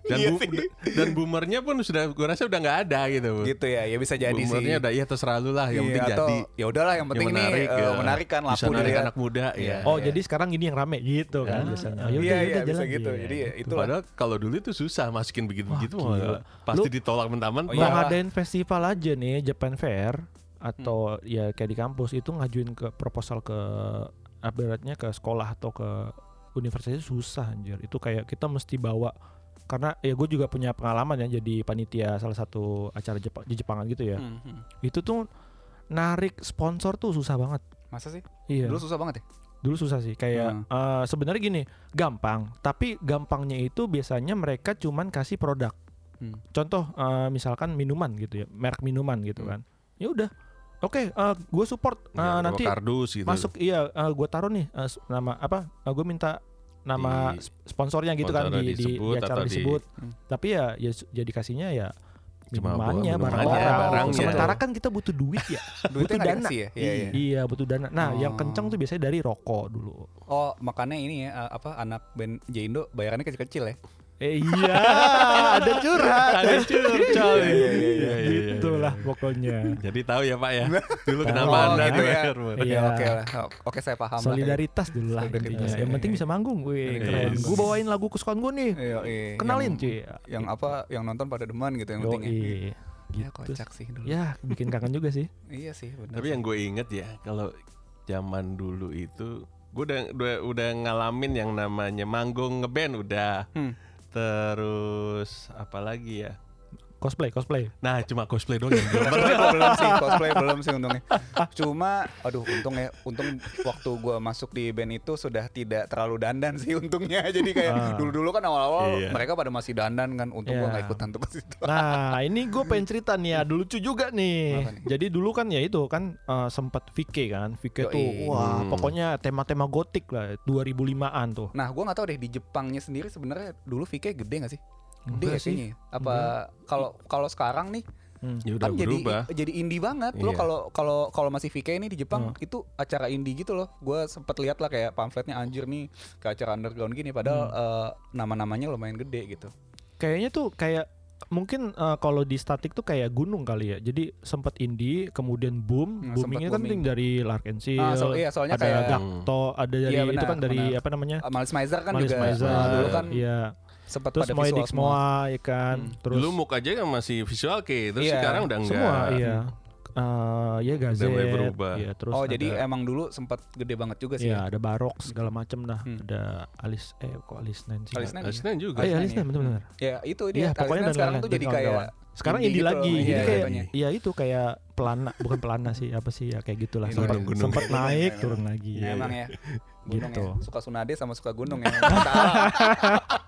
S2: Dan
S3: Iya
S2: bu-
S3: sih.
S2: dan boomernya pun sudah gua rasa udah nggak ada gitu.
S3: gitu ya, ya bisa jadi sih.
S2: boomernya udah iya terserah lu lah, yang
S3: Iya,
S2: penting
S3: atau
S2: jadi.
S3: ya udahlah yang penting nih eh,
S2: ya.
S3: menarik kan
S2: Bisa
S3: laku
S2: narik
S3: dilihat.
S2: anak muda ya.
S1: Oh,
S3: Iya.
S1: jadi sekarang ini yang rame gitu kan biasanya. Oh, yaudah,
S3: Iya iya
S1: yaudah,
S3: bisa
S1: jalan.
S3: gitu.
S1: Iya,
S3: Jadi ya
S1: gitu.
S3: itulah.
S2: Padahal kalau dulu itu susah masukin begitu-begitu
S1: Wah,
S2: mah.
S1: gila.
S2: pasti
S1: Lu- iya. Nah,
S2: ditolak mentah-mentah. Iya.
S1: Mau
S3: Oh, iyalah.
S1: ngadain festival aja nih Japan Fair
S3: Hmm.
S1: atau ya kayak di kampus itu ngajuin ke proposal ke ibaratnya ke sekolah atau ke universitas itu susah anjir. Itu kayak kita mesti bawa karena ya gue juga punya pengalaman ya jadi panitia salah satu acara Jepang di Jepangan gitu ya.
S3: Hmm, hmm.
S1: Itu tuh narik sponsor tuh susah banget.
S3: Masa sih?
S1: Iya.
S3: Dulu susah banget ya?
S1: dulu susah sih kayak eh, sebenarnya gini gampang tapi gampangnya itu biasanya mereka cuman kasih produk
S3: Hmm.
S1: contoh eh, misalkan minuman gitu ya merek minuman gitu
S3: Hmm.
S1: kan ya udah oke gue support eh,
S2: Ya,
S1: nanti
S2: bawa kardus gitu.
S1: masuk iya gue taruh nih eh, s- nama apa gue minta nama
S2: Di-
S1: sp- sponsornya gitu kan
S2: sponsornya
S1: di, di, di
S2: disebut
S1: acara
S2: atau di-
S1: disebut
S3: Hmm.
S1: tapi ya ya su- jadi kasihnya ya
S2: Cuma bawa
S1: minumannya
S2: minumannya,
S1: barang-barang
S2: barangnya.
S1: sementara kan kita butuh duit ya
S3: Duitnya
S1: butuh
S3: nggak
S1: dana
S3: dikasih ya? Iya, iya.
S1: iya butuh dana nah yang
S3: Oh.
S1: kenceng tuh biasanya dari rokok dulu
S3: Oh, makanya ini ya eh, apa anak band Jaindo bayarannya kecil-kecil ya.
S1: Eh, iya, ada curhat.
S2: Ada curcol.
S3: Iya, iya, iya,
S2: Iya, iya, iya.
S1: Gitulah pokoknya.
S2: Jadi tahu ya Pak ya. Dulu
S1: Tahu.
S2: kenapa Anda
S3: gitu ya.
S2: bayar, Bu?
S1: Iya.
S3: Iya, oke lah. Oh, Oke, saya paham. lah.
S1: Solidaritas dulu lah
S3: Solidaritas,
S1: intinya.
S3: iya,
S1: Yang
S3: iya,
S1: penting
S3: iya.
S1: bisa manggung. Wih,
S3: Iya,
S1: keren.
S2: iya.
S1: Gue bawain lagu kesukaan gue nih.
S3: Iya, iya.
S1: Kenalin
S3: Yang-
S1: cuy.
S3: Yang apa yang nonton pada deman gitu yang penting ya.
S1: Yoi.
S3: Ya,
S1: Gitu.
S3: kocak sih dulu.
S1: Ya, bikin kangen juga sih.
S3: Iya sih, benar.
S2: Tapi yang gue inget ya, kalau zaman dulu itu gue udah, udah udah ngalamin yang namanya manggung ngeband udah.
S3: Hmm.
S2: Terus apa lagi ya?
S1: Cosplay, cosplay.
S2: Nah, cuma cosplay doang yang belum.
S3: Cosplay gua belum sih, cosplay belum sih untungnya. Cuma, aduh untung ya, untung waktu gua masuk di band itu sudah tidak terlalu dandan sih untungnya.
S1: Ah.
S3: Jadi kayak dulu-dulu kan awal-awal
S2: Iya.
S3: mereka pada masih dandan kan, untung
S1: Iya.
S3: gua nggak ikutan tuh ke situ.
S1: Nah, ini gue pengen cerita nih ya, dulu lucu juga nih.
S3: Apa nih?
S1: Jadi dulu kan ya itu kan eh, sempat VK kan. VK tuh
S3: Yoi.
S1: wah,
S2: Hmm.
S1: pokoknya tema-tema gotik lah 2005-an tuh.
S3: Nah, gua nggak tahu deh di Jepangnya sendiri sebenarnya dulu VK gede nggak sih? Gede
S1: Enggak
S3: ya
S1: sih. Hmm.
S3: kayaknya. ya. Apa kalau kalau sekarang nih
S2: Ya udah
S3: kan jadi
S2: berubah.
S3: jadi indie banget
S2: Iya.
S3: lo kalau kalau kalau masih VK ini di
S1: Hmm.
S3: Jepang itu acara indie gitu loh gue sempet lihat lah kayak pamfletnya anjir nih ke acara underground gini
S1: Hmm.
S3: padahal eh, nama-namanya lumayan gede gitu
S1: Kayaknya tuh kayak mungkin eh, kalau di statik tuh kayak gunung kali ya. Jadi sempat indie, kemudian boom,
S3: Nah,
S1: boomingnya
S3: sempet
S1: kan
S3: booming.
S1: dari Lark and Seal,
S3: Ah, so- iya, soalnya
S1: ada
S3: kayak-
S1: Gakto, ada dari
S3: Iya,
S1: itu
S3: benar,
S1: kan dari
S3: benar.
S1: apa namanya?
S3: Eh, Miles Miser kan
S1: Miles
S3: juga
S1: Miser,
S3: eh, dulu kan
S1: iya.
S3: sempat
S1: Terus
S3: pada
S1: Moe
S3: visual
S1: Dix Moa, ya kan.
S3: Hmm.
S1: Terus
S2: Dulu Mook aja kan masih visual ke, terus
S3: Iya.
S2: sekarang udah enggak.
S1: semua iya. Eh, ya Gazette,
S2: mulai berubah.
S1: ya, terus
S3: oh
S1: ada-
S3: jadi emang dulu sempat gede banget juga sih
S1: Iya, ada barok segala macam nah.
S3: Hmm.
S1: Ada Alice eh kok Alice Nancy.
S3: Alice Nine.
S2: Asisten
S1: Ah,
S2: juga.
S1: iya, Alice
S3: Nine,
S1: Nine benar-benar.
S3: ya itu
S1: Iya,
S3: dia Alice
S1: pokoknya
S3: Nine
S1: dan
S3: sekarang
S1: lain-lain,
S3: tuh jadi
S1: dan
S3: kayak
S1: kawan-kawan. Sekarang indie,
S3: indie gitu
S1: lagi.
S3: loh,
S1: jadi
S3: iya,
S1: kayak
S3: jatuhnya.
S1: ya itu kayak pelana bukan pelana sih, apa sih ya kayak gitulah.
S2: Ini
S1: Sempat
S2: gunung-gunung.
S1: sempat naik
S3: Gunung-gunung.
S1: turun lagi.
S2: Iya,
S3: emang ya gunung
S1: Gitu.
S3: ya suka sunade sama suka gunung ya Tahu.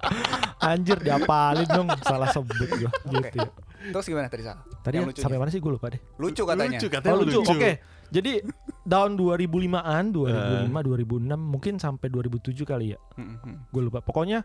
S1: Anjir diapalin dong salah sebut gua gitu. ya.
S3: terus gimana tadi Sal?
S1: Tadi
S3: Yang
S1: sampai
S3: lucunya.
S1: mana sih gue lupa deh.
S3: lucu katanya
S2: Lucu katanya
S1: Oh, lucu.
S2: lucu. Eh.
S1: Oke. Jadi tahun 2005-an, 2005, 2006 mungkin sampai 2007 kali ya.
S3: Mm, mm, mm.
S1: Gue lupa. Pokoknya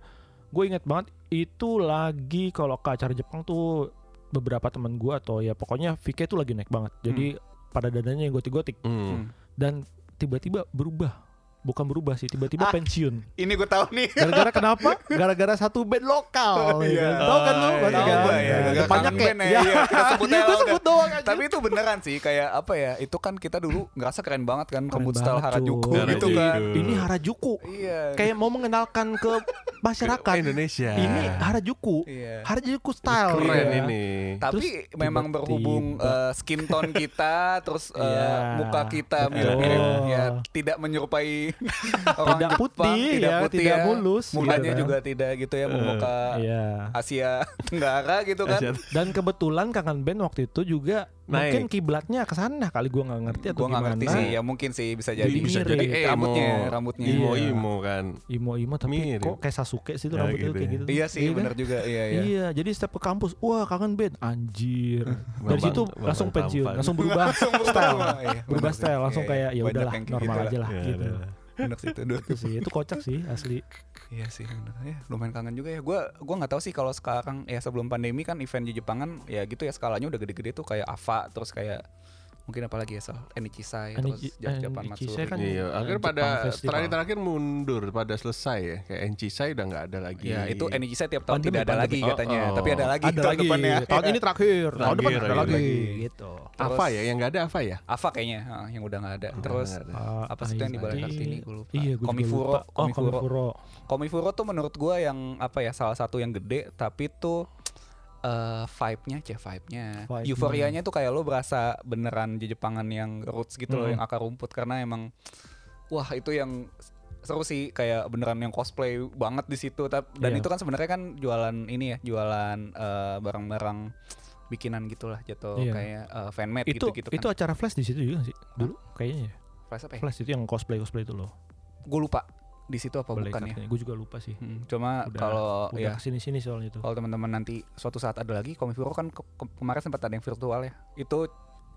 S1: gue ingat banget itu lagi kalau ke acara Jepang tuh beberapa teman gue atau ya pokoknya VK tuh lagi naik banget. Jadi pada dadanya yang gotik-gotik
S2: Hmm.
S1: dan tiba-tiba berubah. Bukan berubah sih,
S3: Ah.
S1: tiba-tiba pensiun.
S3: ini gue tahu nih
S1: Gara-gara kenapa? Gara-gara satu band lokal.
S3: Iya.
S1: ya kan? Tahu kan lu?
S2: Ah,
S1: pasti
S2: tahu
S1: kan?
S2: gua,
S3: gua
S2: ya.
S1: Nah, Depannya
S2: Gara-gara
S3: iya. kangen
S1: kayak
S3: band
S1: ya.
S3: iya, kita sebut
S1: Iya,
S3: aja
S1: gue
S3: lah
S1: sebut
S3: udah.
S1: doang aja.
S3: Tapi itu beneran sih kayak apa ya? Itu kan kita dulu ngerasa keren banget kan
S1: Keren
S3: rambut style
S1: banget,
S3: Harajuku
S1: cuy.
S3: gitu
S2: Harajuku.
S3: kan.
S1: Ini Harajuku.
S3: Iya.
S1: kayak mau mengenalkan ke masyarakat
S2: Ke Kan Indonesia.
S1: Ini Harajuku.
S3: Iya.
S1: Harajuku style.
S2: Keren
S1: ya.
S2: ini.
S3: tapi
S1: Terus
S3: memang
S1: tiba-tiba-
S3: berhubung eh, skin tone kita terus eh,
S1: Iya,
S3: muka
S1: betul.
S3: kita mirip-mirip ya tidak menyerupai orang
S1: Tidak
S3: Jepang,
S1: putih ya, tidak mulus gitu
S3: mukanya
S1: kan.
S3: juga tidak gitu ya memuka
S1: Iya.
S3: Asia Tenggara gitu kan
S2: Asia
S1: Dan kebetulan kangen band waktu itu juga mungkin
S2: Naik.
S1: kiblatnya ke sana kali gua nggak ngerti atau
S3: gue nggak
S1: gimana. Iya,
S3: ngerti sih ya mungkin sih bisa jadi
S1: Bisa
S2: Bisa jadi emo.
S3: rambutnya rambutnya
S2: Imo
S1: Iya.
S2: imo kan.
S1: Imo Imo tapi
S2: Mirip.
S1: kok kayak Sasuke sih tuh
S2: Ya,
S1: rambutnya
S2: gitu
S1: kayak
S2: ya.
S1: gitu.
S3: iya sih
S1: kan?
S3: benar juga iya iya
S1: Iya, jadi setiap ke kampus, wah kangen band, anjir. Dari
S2: Bambang-
S1: situ
S2: Bambang
S1: langsung
S2: tampan.
S1: pensiun, langsung berubah style,
S3: berubah, iya,
S1: berubah
S3: bener sih.
S1: style, langsung
S3: Iya, iya.
S1: kayak ya
S3: Banyak
S1: udahlah
S3: yang kayak
S1: normal
S3: gitu
S1: aja
S3: lah.
S1: lah
S2: Ya,
S1: gitu.
S2: udah.
S3: benar sih itu
S1: Itu sih, itu kocak sih asli.
S3: Iya sih, bener. ya, lumayan kangen juga ya. Gua gua nggak tahu sih kalau sekarang ya sebelum pandemi kan event di Jepangan ya gitu ya skalanya udah gede-gede tuh kayak Ava terus kayak mungkin apa lagi ya soal Enichisai terus
S1: Anichi-
S3: Japan
S1: Anichi
S3: Matsuri.
S1: saya kan-
S2: Iya, akhirnya
S1: Jepang
S2: pada
S1: Festival.
S2: terakhir-terakhir mundur pada selesai ya. Kayak Enchisai udah nggak ada lagi.
S1: Iya,
S3: Ya itu Enichisai tiap tahun
S1: Pandemi,
S3: tidak ada lagi
S1: pandemi.
S3: katanya,
S2: Oh, oh.
S3: tapi ada lagi
S1: ada
S3: tahun
S1: lagi
S3: Gitu depannya. ya.
S1: tahun ini terakhir tahun depan
S2: Terakhir,
S1: ada lagi,
S2: terakhir
S1: gitu
S2: apa ya? Yang nggak ada apa ya?
S3: Ava kayaknya ah, yang udah nggak ada. Terus
S2: nggak ada.
S3: apa sih itu yang di Balai
S1: Aizai.
S3: Kartini gue lupa.
S1: Ah, iya gua juga
S3: Komifuro,
S1: lupa. oh
S3: Komifuro.
S1: komifuro
S3: Komifuro tuh menurut gua yang apa ya salah satu yang gede tapi tuh eh vibe-nya cah vibe-nya.
S1: Vibe-nya.
S3: Euforianya tuh kayak lo berasa beneran di Jepangan yang roots gitu loh,
S1: Mm.
S3: yang akar rumput karena emang wah itu yang seru sih kayak beneran yang cosplay banget di situ Tap- dan
S1: Iya.
S3: itu kan sebenarnya kan jualan ini ya, jualan eh, barang-barang bikinan gitulah jatuh
S1: Iya.
S3: kayak eh, fanmade
S1: itu
S3: gitu-gitu
S1: itu
S3: kan.
S1: acara flash di situ juga sih dulu kayaknya ya.
S3: Flash apa ya?
S1: flash itu yang cosplay cosplay itu loh
S3: Gue lupa di situ apa bukan ya.
S1: gue juga lupa sih
S3: Hmm, cuma
S1: Udah-
S3: kalau ya
S1: udah kesini sini soalnya itu
S3: kalau teman-teman nanti suatu saat ada lagi Komifuro kan ke- ke- kemarin sempat ada yang virtual ya itu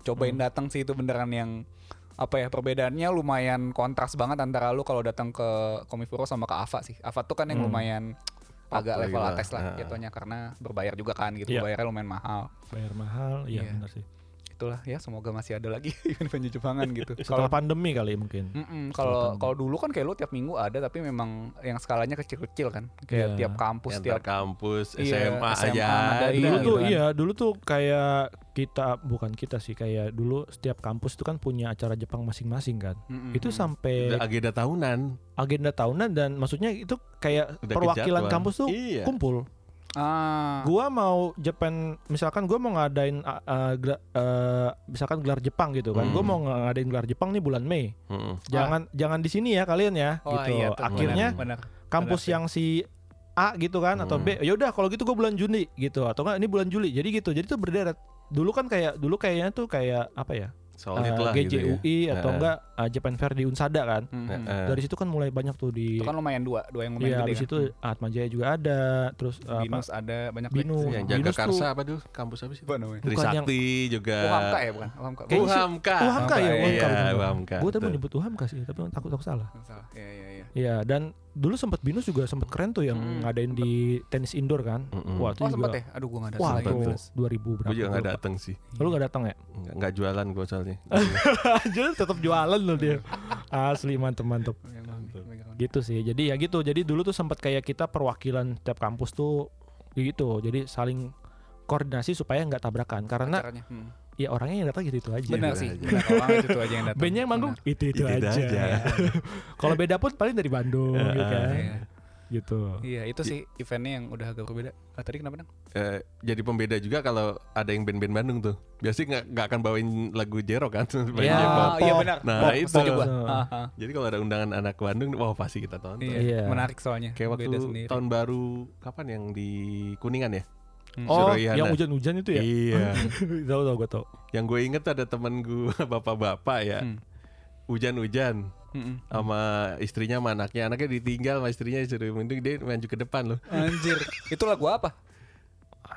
S3: cobain
S1: Hmm.
S3: datang sih itu beneran yang apa ya perbedaannya lumayan kontras banget antara lu kalau datang ke Komifuro sama ke Ava sih Ava tuh kan yang
S1: Hmm. gitu.
S3: lumayan agak
S2: Pop
S3: level
S2: lagi lah.
S3: atas lah
S2: Ah.
S3: jatuhnya karena berbayar juga kan gitu
S1: Iya.
S3: bayarnya lumayan mahal
S1: bayar mahal iya
S3: Iya.
S1: benar sih
S3: itulah ya semoga masih ada lagi event-event di Jepangan gitu
S1: setelah
S3: kalau
S1: pandemi kali ya mungkin
S3: Mm-mm, kalau kalau dulu kan kayak lu tiap minggu ada tapi memang yang skalanya kecil-kecil kan
S1: Iya.
S3: kayak tiap kampus
S2: Yang
S3: tiap
S2: kampus,
S3: Iya,
S2: SMA,
S3: SMA,
S2: aja.
S3: Madani.
S1: dulu
S3: Iya,
S1: tuh
S3: gitu kan.
S1: iya dulu tuh kayak kita bukan kita sih kayak dulu setiap kampus itu kan punya acara Jepang masing-masing kan
S3: Mm-mm.
S1: itu sampai
S2: Udah agenda tahunan.
S1: agenda tahunan dan maksudnya itu kayak
S2: Udah
S1: perwakilan
S2: kejadwal.
S1: kampus tuh
S2: Iya.
S1: kumpul
S3: ah
S1: gua mau Japan misalkan gua mau ngadain uh, uh, gela- uh, misalkan gelar Jepang gitu kan
S2: Hmm.
S1: gua mau ngadain gelar Jepang nih bulan Mei
S2: Heeh.
S1: jangan jangan di sini ya kalian ya
S3: Ah. Oh,
S1: gitu
S3: iya tuh,
S1: akhirnya
S3: benar, benar.
S1: kampus
S3: benar sih.
S1: yang si A gitu kan atau B
S2: Hmm.
S1: yaudah kalau gitu gua bulan Juni gitu atau enggak ini bulan Juli jadi gitu jadi tuh berderet dulu kan kayak dulu kayaknya tuh kayak apa ya
S2: solid
S1: eh,
S2: lah gitu ya.
S1: GJUI atau
S2: Heeh.
S1: enggak eh, Japan Fair di Unsada kan.
S3: Mhm.
S2: Heeh.
S1: Dari situ kan mulai banyak tuh di
S3: Itu kan lumayan dua, dua yang
S1: Iya,
S3: lumayan gede.
S1: habis
S3: kan.
S1: itu Atma Jaya juga ada, terus eh, apa?
S3: Binus ada banyak Iya,
S1: Binu.
S3: deh.
S2: yang
S1: Binus
S2: jaga
S1: tuh-
S2: karsa apa dulu kampus apa sih?
S3: Apa namanya?
S2: Trisakti juga.
S3: Uhamka ya bukan? Uhamka.
S1: Kayaknya sih-
S2: Uhamka.
S1: Uhamka ya,
S2: Iya,
S1: Uhamka. bener.
S2: Uhamka.
S1: Gue tadi mau
S2: betul.
S1: nyebut Uhamka sih, tapi takut takut salah.
S3: Bukan, salah. Iya iya iya.
S1: Iya, dan dulu sempat Binus juga sempat keren tuh yang
S3: Hmm,
S1: ngadain di tenis indoor kan.
S2: Mm-mm.
S1: Wah, itu
S3: Oh
S1: juga.
S3: sempet ya? Aduh gua enggak ada
S1: Wah,
S3: selain
S1: itu
S3: Binus.
S1: 2000 berapa?
S2: Gue juga
S1: gua
S2: nggak
S1: lupa.
S2: datang sih.
S1: Lu gak datang ya?
S2: Nggak nggak jualan gue soalnya.
S1: Jadi tetap jualan loh dia. Asli mantep mantep.
S3: Yang
S2: Betul.
S3: Iya, megang-
S1: Gitu sih. Jadi ya gitu. Jadi dulu tuh sempat kayak kita perwakilan tiap kampus tuh gitu. Jadi saling koordinasi supaya nggak tabrakan karena
S3: caranya. Hmm.
S1: ya orangnya yang datang gitu itu aja.
S3: Benar
S2: Iya,
S3: sih.
S2: iya.
S3: Benar orang itu aja yang datang.
S1: Bandnya yang manggung itu itu
S2: Itu-itu
S1: aja.
S2: aja.
S1: Kalau beda pun paling dari Bandung gitu kan.
S3: Iya.
S1: Gitu.
S3: Iya, itu sih eventnya yang udah agak berbeda. Ah, tadi kenapa, Nang?
S2: Eh, jadi pembeda juga kalau ada yang band-band Bandung tuh. Biasanya nggak nggak akan bawain lagu jerok kan. Main
S1: Iya.
S2: jebak.
S1: pop.
S3: iya benar.
S2: Nah,
S3: Pop,
S2: itu.
S3: setuju gua.
S1: Nah.
S3: Ah, ah.
S2: Jadi kalau ada undangan anak Bandung, wah pasti kita tonton.
S3: Iya,
S1: Iya.
S3: menarik soalnya.
S2: Kayak waktu
S3: beda sendiri.
S2: tahun baru kapan yang di Kuningan ya?
S3: Hmm.
S1: Oh,
S2: Suruh Yana.
S1: yang hujan-hujan itu ya?
S2: Iya.
S1: tahu tahu gue tahu.
S2: yang gue inget ada temen gue bapak-bapak ya.
S3: Hmm.
S2: Hujan-hujan
S3: Mm-mm.
S2: sama istrinya sama anaknya. Anaknya ditinggal sama istrinya disuruh mending dia maju ke depan loh.
S3: Anjir, itu lagu apa?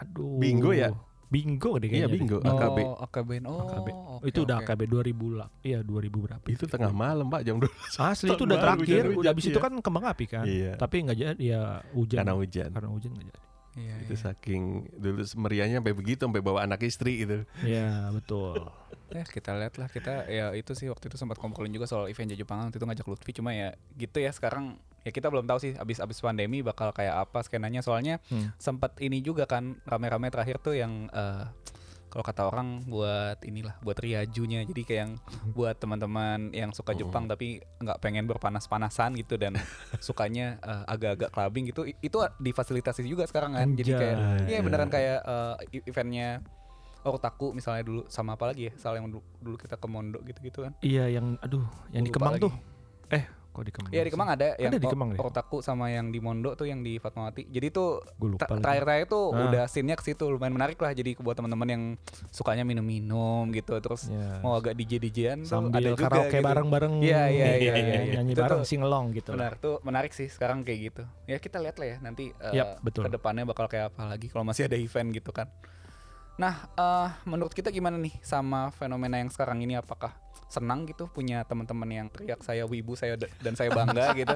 S1: Aduh.
S2: Bingo ya?
S1: Bingo deh kayaknya. deh.
S2: Iya bingo AKB.
S3: Oh, AKB. Oh,
S1: AKB.
S3: oke,
S1: itu udah
S3: oke.
S1: AKB 2000 lah. Iya, 2000 berapa?
S2: Itu tengah malam, Pak, jam 12.
S1: Asli itu
S2: Tahun
S1: udah
S2: baru,
S1: terakhir,
S2: hujan-hujan,
S1: udah habis itu
S2: iya.
S1: kan kembang api kan.
S2: Iya.
S1: Tapi nggak jadi ya hujan.
S2: Karena hujan.
S1: Karena hujan nggak jadi.
S3: Iya,
S2: Itu
S3: iya.
S2: saking dulu meriahnya sampai begitu sampai bawa anak istri gitu.
S1: Iya, betul.
S3: Ya, kita lihat lah kita ya itu sih waktu itu sempat komplain juga soal event Jepangan waktu itu ngajak Lutfi cuma ya gitu ya sekarang ya kita belum tahu sih abis abis pandemi bakal kayak apa skenanya soalnya
S1: Hmm.
S3: sempat ini juga kan rame-rame terakhir tuh yang eh, kalau kata orang buat inilah buat riajunya jadi kayak yang
S1: Hmm.
S3: buat teman-teman yang suka Jepang tapi nggak pengen berpanas-panasan gitu dan sukanya eh, agak-agak clubbing gitu I- itu difasilitasi juga sekarang kan jadi kayak
S1: Anjay.
S3: iya beneran kayak eh, i- eventnya Otaku misalnya dulu sama apa lagi ya soal yang dulu, dulu kita ke Mondo gitu-gitu kan
S1: Iya, yang aduh, yang di
S3: Lupa
S1: Kemang
S3: lagi.
S1: tuh. Eh, kok di Kemang?
S3: Iya di Kemang ada yang
S1: di
S3: O-
S1: Kemang deh.
S3: Otaku sama yang di Mondo tuh yang di Fatmawati jadi tuh
S1: Gue lupa
S3: Tra-
S1: lagi.
S3: terakhir-terakhir tuh
S1: Ah.
S3: udah scene-nya ke situ lumayan menarik lah jadi buat teman-teman yang sukanya minum-minum gitu terus
S1: Yes.
S3: mau agak DJ DJan
S1: Iya. Sambil
S3: ada juga
S1: karaoke
S3: gitu.
S1: bareng-bareng.
S3: Iya, iya, iya, iya.
S1: Nyanyi
S3: Itu tuh-
S1: bareng singelong gitu. lah.
S3: Benar tuh menarik sih sekarang kayak gitu. Ya kita lihat lah ya nanti eh,
S1: Yap, betul.
S3: kedepannya bakal kayak apa lagi kalau masih ada event gitu kan. Nah, eh, menurut kita gimana nih sama fenomena yang sekarang ini apakah senang gitu punya teman-teman yang teriak saya wibu saya da- dan saya bangga gitu.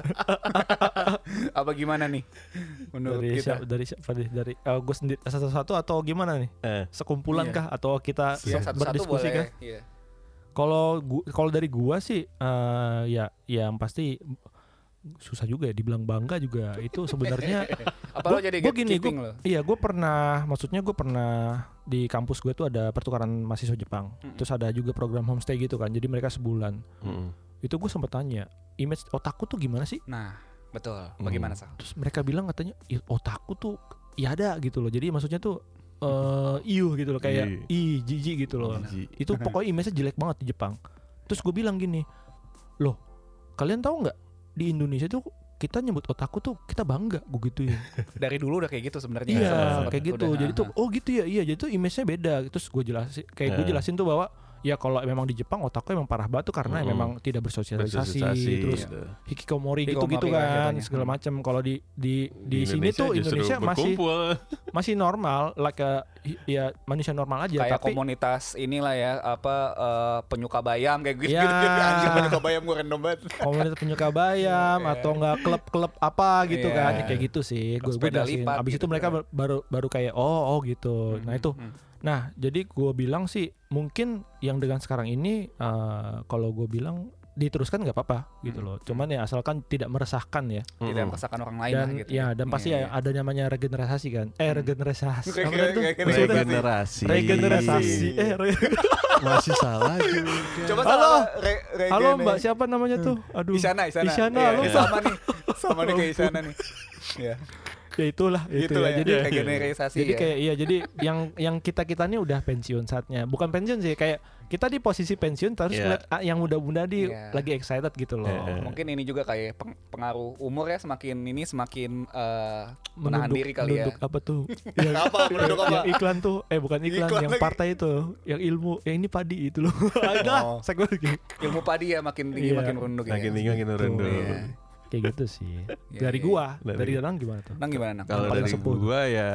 S3: apa gimana nih menurut
S1: Dari
S3: kita?
S1: siapa, dari siapa deh? Dari eh, gue sendiri satu-satu atau gimana nih?
S2: Eh.
S1: Sekumpulan
S3: Iya.
S1: kah atau kita
S3: Ya,
S1: berdiskusi kah?
S3: Iya.
S1: Kalau gu- kalau dari gua sih eh, ya yang pasti susah juga ya dibilang bangga juga itu sebenarnya
S3: Apa lo
S1: Gua-
S3: jadi
S1: gua
S3: gatekeeping
S1: gini,
S3: lo?
S1: iya gue pernah maksudnya gue pernah di kampus gue tuh ada pertukaran mahasiswa Jepang
S3: Mm-mm.
S1: terus ada juga program homestay gitu kan jadi mereka sebulan
S2: Mm-mm.
S1: itu gue sempat tanya image otakku tuh gimana sih
S3: Nah, betul.
S1: Hmm.
S3: Bagaimana Sal?
S1: terus mereka bilang katanya "Ya, otakku tuh ya ada gitu loh jadi maksudnya tuh eh iuh gitu loh kayak ih jijik gitu loh
S2: Jijik.
S1: itu pokoknya image-nya jelek banget di Jepang terus gue bilang gini loh kalian tahu nggak di Indonesia tuh kita nyebut otakku tuh kita bangga gue gituin
S3: Dari dulu udah kayak gitu sebenarnya.
S1: iya
S3: Sempet-
S1: kayak
S3: sempet
S1: gitu
S3: udah,
S1: jadi tuh
S3: ah,
S1: oh gitu ya iya jadi tuh image-nya beda terus gue jelasin kayak gue
S2: Eh.
S1: jelasin tuh bahwa ya kalau memang di Jepang otakku emang parah banget tuh karena
S2: Mm-mm.
S1: memang tidak bersosialisasi,
S2: Bersosialisasi,
S1: terus
S2: gitu.
S1: hikikomori
S3: Hikikomori
S1: gitu-gitu
S3: lah
S1: kan
S3: jatuhnya.
S1: segala macam kalau di di
S2: ya. Hmm. Di
S1: di, sini
S2: Indonesia
S1: tuh
S2: justru
S1: Indonesia masih
S2: berkumpul.
S1: masih normal like a- ya manusia normal aja
S3: kayak
S1: tapi
S3: komunitas inilah ya apa eh, penyuka bayam kayak gitu,
S1: Ya.
S3: gitu. Anjir penyuka bayam gue random banget.
S1: komunitas penyuka bayam
S3: Iya.
S1: atau enggak klub-klub apa gitu
S3: Iya.
S1: kan Ya, kayak gitu sih gue
S3: Sepeda
S1: jelasin
S3: lipat
S1: abis
S3: gitu
S1: itu mereka
S3: kan.
S1: bar- baru baru kayak oh oh gitu nah itu
S3: Hmm.
S1: nah jadi gue bilang sih mungkin yang dengan sekarang ini eh, kalau gue bilang diteruskan nggak apa-apa gitu
S3: Hmm.
S1: loh cuman ya asalkan tidak meresahkan ya
S3: Tidak
S2: Mm-mm.
S3: merasakan orang lain
S1: dan
S3: lah gitu.
S1: ya dan pasti ya ada namanya regenerasi kan eh
S3: Hmm.
S1: regenerasi apa tadi
S3: Kayak-
S1: tuh?
S3: kayak- kayak-
S1: Maksudnya-
S3: kayak-
S2: Regenerasi.
S1: regenerasi eh re-
S2: masih salah juga.
S3: Coba
S1: Halo.
S3: salah re- regen-
S1: halo mbak siapa
S3: Hmm.
S1: namanya tuh aduh
S3: Isana, Isana.
S1: Isyana,
S3: Iya,
S1: halo
S3: iya. sama nih. Sama nih kayak Isana nih. Iya.
S1: ya itulah itu
S3: gitu lah
S1: ya.
S3: ya,
S1: Jadi
S3: kayak generisasi
S1: jadi
S3: ya.
S1: kayak iya jadi yang yang kita kita ini udah pensiun saatnya. Bukan pensiun sih kayak kita di posisi pensiun terus
S2: Iya.
S1: ngeliat ah, yang muda-muda di
S3: Iya.
S1: lagi excited gitu loh.
S2: Iya.
S3: Oh, mungkin ini juga kayak peng- pengaruh umur ya semakin ini semakin eh, menahan
S1: Menunduk-
S3: diri kali ya
S1: menunduk apa tuh? yang,
S3: Apa? Menunduk apa?
S1: yang iklan tuh eh bukan iklan,
S3: Iklan
S1: yang
S3: lagi.
S1: partai itu, yang ilmu, yang ini padi itu loh. Ada
S3: Oh.
S1: segmen kayak- gitu.
S3: ilmu padi ya makin tinggi
S1: Iya.
S3: makin merunduk
S2: Makin
S3: ya
S2: tinggi makin rendah.
S3: Iya.
S1: kayak gitu sih.
S3: Iya,
S1: Dari
S3: iya. Nah,
S1: gua,
S2: Dari-
S1: dari dalam gimana tuh?
S3: Nang gimana Nang?
S2: Kalau
S1: Paling
S2: dari
S1: sepuh.
S2: gua ya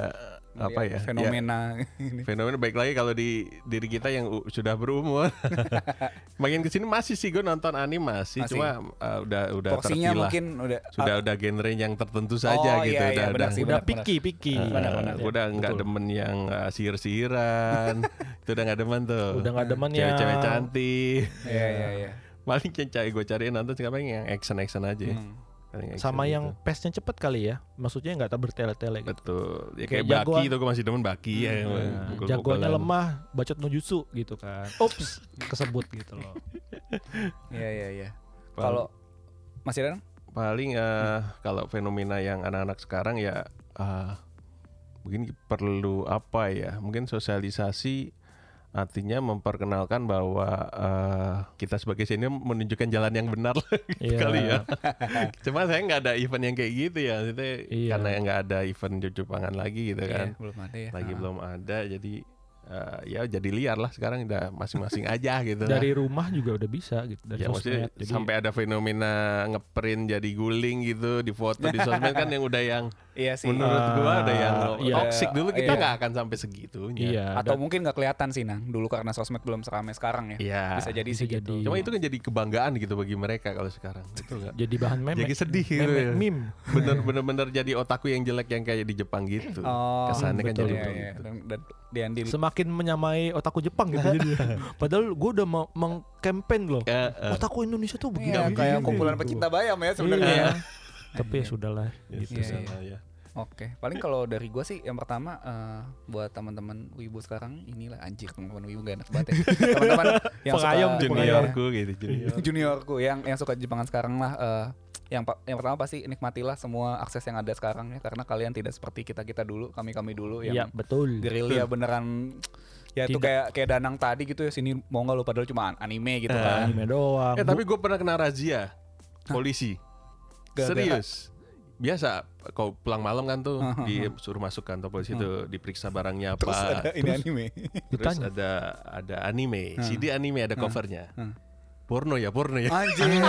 S2: apa ya? Ya,
S3: fenomena ini
S2: fenomena baik lagi kalau di diri kita yang u- sudah berumur. Makin kesini masih sih gue nonton animasi,
S3: Masih.
S2: cuma uh, udah udah
S3: porsinya
S2: terpilah.
S3: mungkin udah
S2: Sudah udah genre yang tertentu saja
S3: Oh,
S2: gitu,
S3: iya, iya,
S2: udah
S3: benar
S2: udah-
S1: Udah
S3: sih,
S1: Iya,
S3: benar, benar.
S1: piki-piki.
S2: Eh,
S3: Benar-benar.
S2: udah nggak demen yang uh, sihir-sihiran, itu udah nggak demen tuh.
S1: udah
S3: Eh,
S1: nggak demen ya.
S2: Cewek-cewek cantik.
S3: ya ya
S2: Iya.
S3: ya
S2: Paling yang cari gue cariin nonton sekarang yang action-action aja. ya. Paling action
S1: Hmm. sama
S2: gitu.
S1: yang pesnya cepet kali ya maksudnya nggak tak bertele-tele gitu.
S2: betul. Ya,
S1: Kayak
S2: kayak,
S1: jagoan.
S2: baki tuh gue masih demen baki ya.
S1: Nah,
S2: pukul-pukulan.
S1: jagoannya lemah bacot nujutsu gitu kan ups kesebut gitu loh
S3: ya ya ya
S2: Paling-
S3: kalau Mas Iran
S2: paling eh kalau fenomena yang anak-anak sekarang ya eh mungkin perlu apa ya mungkin sosialisasi artinya memperkenalkan bahwa eh kita sebagai senior menunjukkan jalan yang benar lah gitu
S1: Iya.
S2: kali ya cuma saya nggak ada event yang kayak gitu ya maksudnya
S1: Iya.
S2: karena nggak ada event jujur pangan lagi gitu kan
S3: Iya, belum ada ya
S2: lagi
S3: Ah.
S2: belum ada jadi eh, ya jadi liar lah sekarang udah masing-masing aja gitu lah.
S1: dari rumah juga udah bisa gitu dari
S2: Ya maksudnya
S1: sosmed jadi
S2: sampai ada fenomena ngeprint jadi guling gitu di foto di sosmed kan yang udah yang
S3: iya sih
S2: menurut gua ada yang
S1: Ah, iya.
S2: toxic dulu kita
S3: Iya.
S2: nggak akan sampai segitunya.
S1: iya dan-
S3: atau mungkin nggak kelihatan sih nang dulu karena sosmed belum seramai sekarang ya
S2: Iya.
S3: bisa jadi
S1: Bisa
S3: sih gitu
S1: jadi.
S2: Cuma itu kan jadi kebanggaan gitu bagi mereka kalau sekarang. Betul nggak?
S1: jadi bahan meme
S2: Jadi sedih gitu
S1: meme,
S2: ya.
S1: meme.
S2: Bener bener bener jadi otaku yang jelek yang kayak di Jepang gitu.
S3: Oh,
S2: Kesannya kan
S1: betul.
S2: jadi
S3: Iya,
S2: begitu.
S3: iya. dan, dan, dan di
S1: semakin menyamai otaku Jepang gitu jadi padahal gue udah mau mengkampen loh
S2: Eh, eh,
S1: otaku Indonesia tuh begini
S3: Iya,
S1: begini,
S3: kayak
S1: begini,
S3: kumpulan
S1: gitu.
S3: pecinta bayam ya sebenarnya
S1: iya.
S3: ya.
S1: tapi ya sudahlah gitu
S2: gitu
S3: Iya,
S2: sama ya.
S3: Oke, paling kalau dari gua sih yang pertama eh, buat teman-teman wibu sekarang inilah anjir teman-teman wibu gak enak banget ya. Teman-teman yang suka
S2: Iya,
S1: Pengayom, pengayom.
S2: Juniorku gitu junior.
S3: juniorku yang yang suka Jepangan sekarang lah eh, yang pa- yang pertama pasti nikmatilah semua akses yang ada sekarang ya karena kalian tidak seperti kita-kita dulu, kami-kami dulu
S1: iya
S3: yang
S1: betul
S3: gerilya beneran ya
S1: Tidak.
S3: itu kayak kayak Danang tadi gitu ya sini mau nggak lu padahal cuma an- anime gitu kan.
S1: anime doang
S2: Eh tapi gue pernah kena razia polisi.
S3: Gara-gara-
S2: Serius. Biasa kau pulang malam kan tuh disuruh masuk kantor polisi tuh diperiksa barangnya apa.
S3: Terus ada ini anime.
S2: Terus
S1: ditanya
S2: ada ada anime, CD anime ada covernya. Porno ya, porno ya.
S3: Ah, Anjir.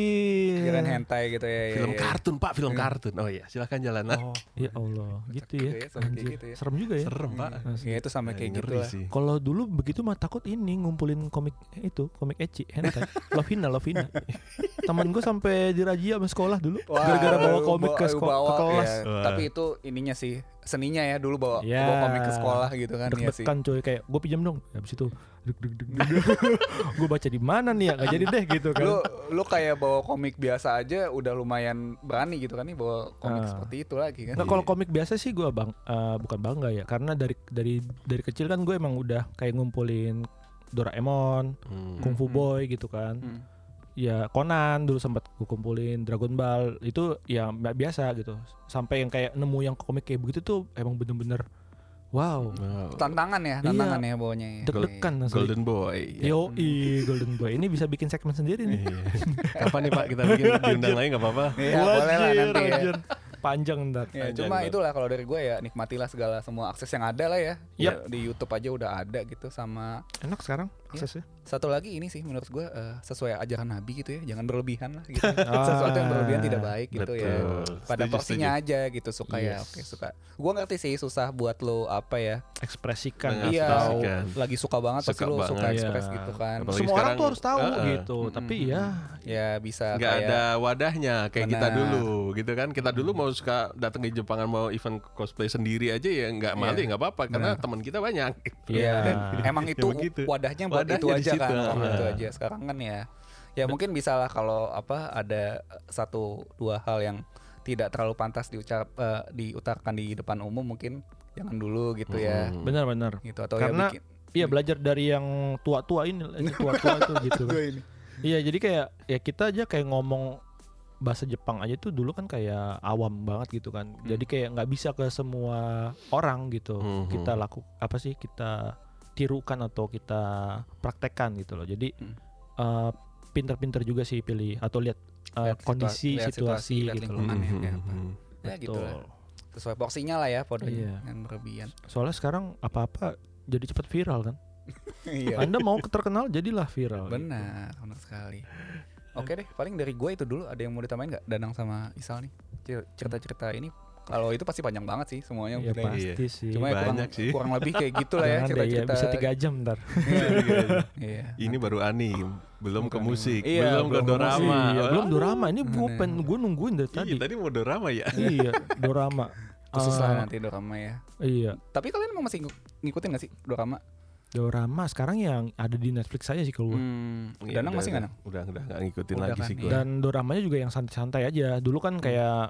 S1: anjir
S3: Kirain hentai gitu ya. ya,
S2: film
S3: ya.
S2: kartun, Pak, film kartun. Oh iya, silahkan jalan. ah.
S1: Oh, ya Allah, gitu
S3: juga
S1: ya.
S3: ya, sama kayak
S1: Anjir.
S3: gitu ya.
S1: Serem juga ya.
S2: Serem, Pak.
S1: Asli.
S3: Ya itu sama kayak gitu
S2: Ngeri
S3: lah.
S2: sih.
S1: Kalau dulu begitu mah takut ini ngumpulin komik itu, komik ecchi, kan? hentai. Lovina, Lovina. Temen gue sampai dirajia sama sekolah dulu
S3: Wah,
S1: gara-gara bawa
S3: lu
S1: komik ke
S3: bawa- lu
S1: sekolah ke
S3: bawa,
S1: kelas.
S3: ya. Tapi itu ininya sih seninya ya dulu bawa
S1: Ya.
S3: bawa komik ke sekolah gitu kan ya sih.
S1: Deg-degan coy kayak gue pinjam dong. Habis itu deg deg deg gue baca di mana nih ya? Gak jadi deh gitu kan.
S3: Lu lu kayak bawa komik biasa aja udah lumayan berani gitu kan nih bawa
S1: Ah.
S3: komik seperti itu lagi kan.
S1: Nggak, kalau komik biasa sih gue bang eh, bukan bangga ya karena dari dari dari kecil kan gue emang udah kayak ngumpulin Doraemon,
S2: Hmm.
S1: Kung Fu
S3: Hmm.
S1: Boy gitu kan.
S3: Hmm.
S1: ya Conan dulu sempat gue kumpulin Dragon Ball itu ya nggak biasa gitu sampai yang kayak nemu yang komik kayak begitu tuh emang bener-bener wow
S2: Wow.
S3: Tantangan ya, tantangan ya bawanya ya.
S1: Iya. deg-degan asli.
S2: Hmm, Oh. iya. Golden Boy.
S3: Iya.
S2: ya.
S1: Yo i Golden Boy ini bisa bikin segmen sendiri nih
S2: Iya. Kapan nih Pak kita bikin diundang lagi nggak apa-apa?
S3: Iya, boleh lah
S1: Wajir,
S3: nanti ya.
S1: wajir. panjang ntar
S3: Ya,
S2: Panjang
S3: cuma
S2: banget.
S3: itulah kalau dari gue ya nikmatilah segala semua akses yang ada lah ya.
S1: Yap.
S3: Di YouTube aja udah ada gitu sama
S1: enak sekarang
S2: Iya.
S1: aksesnya
S3: satu lagi ini sih menurut gue eh, sesuai ajaran Nabi gitu ya, jangan berlebihan lah gitu. Sesuatu yang berlebihan tidak baik gitu ya.
S2: Ah, Betul.
S3: pada
S2: Setuju,
S3: porsinya aja gitu suka ya
S1: Yes.
S3: oke suka gua ngerti sih susah buat lo apa ya
S1: ekspresikan
S2: Iya.
S1: atau
S2: Ekspresikan.
S3: lagi suka banget pasti
S2: Suka
S3: lo suka
S2: banget.
S3: ekspres
S1: Iya.
S3: gitu kan
S2: Apalagi
S1: semua orang
S2: sekarang,
S1: tuh harus tahu
S2: eh, eh.
S1: gitu tapi ya
S2: hmm.
S3: ya bisa
S2: nggak
S3: kayak
S2: ada wadahnya kayak kita
S3: Benar.
S2: dulu gitu kan kita dulu mau suka datang ke Jepangan mau event cosplay sendiri aja ya nggak malu
S3: Iya.
S2: ya nggak apa-apa karena teman kita banyak
S1: Iya.
S3: ya dan emang
S2: Ya
S3: itu
S2: begitu.
S3: wadahnya buat
S2: Wadahnya
S3: itu
S2: di
S3: aja
S2: situ. ah.
S3: kan kalau
S2: Heeh.
S3: itu aja sekarang kan ya ya mungkin bisa lah kalau apa ada satu dua hal yang tidak terlalu pantas diucap eh, diutarakan di depan umum mungkin jangan dulu gitu ya
S2: Hmm.
S1: benar-benar
S3: gitu atau
S1: Karena-
S3: ya bikin
S1: Iya belajar dari yang eh, tua-tua ini, tua-tua itu gitu. kan.
S3: Gua ini.
S1: Iya jadi kayak ya kita aja kayak ngomong bahasa Jepang aja tuh dulu kan kayak awam banget gitu kan.
S3: Hmm.
S1: Jadi kayak nggak bisa ke semua orang gitu.
S2: Mhm.
S3: Hmm,
S1: Kita laku apa sih kita tirukan atau kita praktekkan gitu loh. Jadi
S3: Hmm.
S1: eh, pinter-pinter juga sih pilih atau lihat eh,
S3: Lihat situa-
S1: kondisi
S3: lihat
S1: situasi,
S3: situasi, lihat
S1: gitu loh.
S3: lingkungan. Aman ya,
S2: Mhm,
S3: kayak apa.
S2: mhm.
S3: Ya gitu
S1: Betul.
S3: lah. Sesuai porsinya lah ya
S1: Iya.
S3: podonya yang berlebihan.
S1: Soalnya sekarang apa-apa jadi cepat viral kan.
S3: Iya.
S1: Anda mau terkenal jadilah viral. gitu.
S3: Benar, benar sekali. Oke deh, paling dari gue itu dulu ada yang mau ditambahin nggak Danang sama Isal nih? Cer- Cerita-cerita ini kalau itu pasti panjang banget sih semuanya.
S1: Ya
S3: Gila.
S2: iya.
S1: pasti sih.
S3: Cuma ya kurang,
S2: Banyak sih.
S3: kurang lebih kayak gitu lah ya
S1: Jangan deh, ya,
S3: cerita-cerita.
S1: bisa tiga jam ntar.
S3: Iya.
S2: Ini baru anime, belum ke
S3: Bukan
S2: musik,
S3: anime. Iya,
S2: belum ke
S3: belum ke
S2: dorama.
S1: Iya, belum
S2: Aduh,
S1: dorama. Ini gue
S3: Aneh.
S1: pengen gue nungguin dari
S2: iya,
S1: tadi.
S2: tadi mau dorama ya.
S1: iya, dorama.
S3: Khusus
S1: Eh,
S3: lah nanti dorama ya.
S1: Iya,
S3: Tapi kalian emang masih ngik- ngikutin gak sih dorama?
S1: dorama sekarang yang ada di Netflix saya sih keluar.
S3: Hmm,
S2: Iya,
S3: Danang
S2: udah,
S3: masih nggak? Danang?
S2: Udah udah nggak ngikutin
S3: Udah
S2: lagi sih
S3: kan, iya. Hmm.
S2: gue.
S1: Dan doramanya juga yang santai-santai aja. Dulu kan kayak